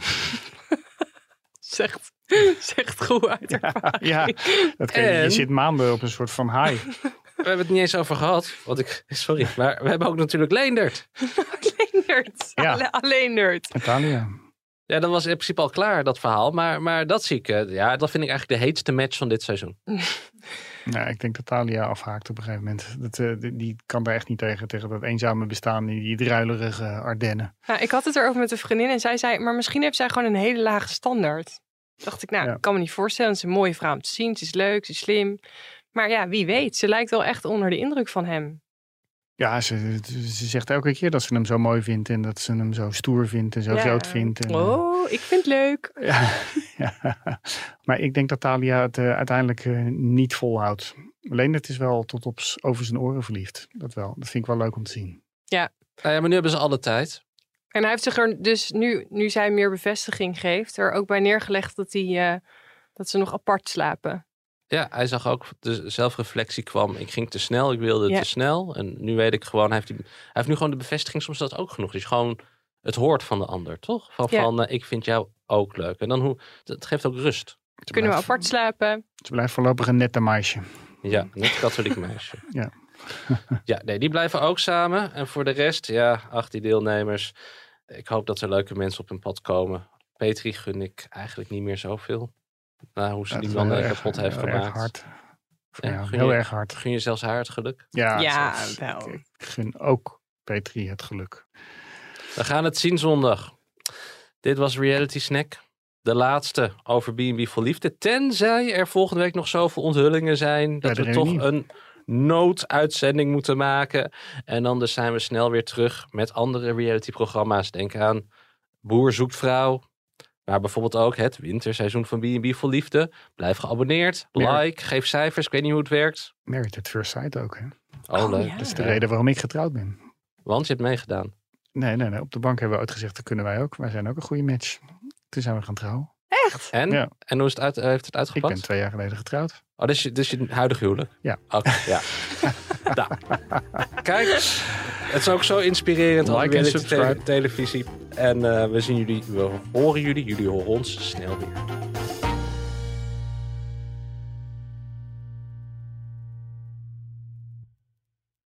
Speaker 8: Zegt, zegt goed uit ervaring.
Speaker 3: ja, dat kun je, je
Speaker 4: En-
Speaker 3: zit maanden op een soort van high.
Speaker 4: bent. We hebben het niet eens over gehad. Want ik, sorry, maar we hebben ook natuurlijk Leendert.
Speaker 8: Leendert.
Speaker 3: Ja.
Speaker 8: Alle- Alleen nerd.
Speaker 3: Natalia.
Speaker 4: Ja, dat was in principe al klaar, dat verhaal. Maar, maar dat zie ik, eh, ja, dat vind ik eigenlijk de heetste match van dit seizoen.
Speaker 3: Nou, ik denk dat Talia afhaakt op een gegeven moment. Dat, eh, die- die kan daar echt niet tegen, tegen dat eenzame bestaan in die druilerige Ardennen.
Speaker 8: Nou, ik had het erover met een vriendin en zij zei, maar misschien heeft zij gewoon een hele lage standaard. Toen Dacht ik, nou, ik kan me niet voorstellen. Ze is een mooie vrouw om te zien. Ze is leuk, ze is slim. Maar ja, wie weet. Ze lijkt wel echt onder de indruk van hem.
Speaker 3: Ja, ze, ze zegt elke keer dat ze hem zo mooi vindt en dat ze hem zo stoer vindt en zo
Speaker 8: Ja.
Speaker 3: groot vindt. En, eh,
Speaker 8: Oh, ik vind het leuk.
Speaker 3: ja. Maar ik denk dat Talia het eh, uiteindelijk eh, niet volhoudt. Alleen het is wel tot op s- over zijn oren verliefd. Dat wel. Dat vind ik wel leuk om te zien.
Speaker 8: Ja.
Speaker 4: Nou ja, maar nu hebben ze alle tijd.
Speaker 8: En hij heeft zich er dus nu, nu zij meer bevestiging geeft, er ook bij neergelegd dat, hij, eh, dat ze nog apart slapen.
Speaker 4: Ja, hij zag ook de zelfreflectie kwam. Ik ging te snel, ik wilde
Speaker 8: Ja.
Speaker 4: te snel. En nu weet ik gewoon, hij heeft, die, hij heeft nu gewoon de bevestiging soms dat ook genoeg is. Gewoon het hoort van de ander, toch? Van,
Speaker 8: Ja.
Speaker 4: van eh, ik vind jou ook leuk. En dan hoe, dat geeft ook rust.
Speaker 8: Kunnen we apart slapen?
Speaker 3: Ze blijft voorlopig een nette meisje.
Speaker 4: Ja, net katholiek meisje.
Speaker 3: Mm. Ja.
Speaker 4: Ja, nee, die blijven ook samen. En voor de rest, ja, 18 deelnemers. Ik hoop dat er leuke mensen op hun pad komen. Petri gun ik eigenlijk niet meer zoveel. Na hoe ze
Speaker 3: Dat
Speaker 4: die
Speaker 3: is
Speaker 4: man
Speaker 3: wel
Speaker 4: eh,
Speaker 3: erg-
Speaker 4: kapot heeft
Speaker 3: heel erg
Speaker 4: gemaakt.
Speaker 3: hard.
Speaker 4: Ja,
Speaker 3: Ja,
Speaker 4: gun
Speaker 3: heel
Speaker 4: je-
Speaker 3: erg hard.
Speaker 4: Gun je zelfs haar het geluk.
Speaker 3: Ja,
Speaker 8: Ja,
Speaker 3: zelfs-
Speaker 8: wel.
Speaker 3: Ik gun ook Petri het geluk.
Speaker 4: We gaan het zien zondag. Dit was Reality Snack. De laatste over B&B voor Liefde. Tenzij er volgende week nog zoveel onthullingen zijn... dat
Speaker 3: de
Speaker 4: we toch
Speaker 3: reunie.
Speaker 4: een nooduitzending moeten maken. En anders zijn we snel weer terug met andere realityprogramma's. Denk aan Boer zoekt vrouw. Maar bijvoorbeeld ook het winterseizoen van B&B voor Liefde. Blijf geabonneerd.
Speaker 3: Meer.
Speaker 4: Like, geef cijfers. Ik weet niet hoe het werkt.
Speaker 3: Married at first sight ook, hè?
Speaker 4: Oh, leuk.
Speaker 3: Dat is de reden waarom ik getrouwd ben.
Speaker 4: Want je hebt meegedaan.
Speaker 3: Nee, nee, nee. Op de bank hebben we ooit gezegd, dat kunnen wij ook. Wij zijn ook een goede match. Toen zijn we gaan trouwen.
Speaker 4: En,
Speaker 3: Ja.
Speaker 4: en hoe is het uit, heeft het
Speaker 3: Ik
Speaker 4: uitgepakt?
Speaker 3: ben twee jaar geleden getrouwd.
Speaker 4: Oh, dus je, dus je huidige huwelijk?
Speaker 3: Ja.
Speaker 4: Oké, ja. nou, kijk. Het is ook zo inspirerend als
Speaker 3: Like en
Speaker 4: reality te-
Speaker 3: subscribe.
Speaker 4: televisie. En eh, we zien jullie, we horen jullie, jullie horen ons snel weer.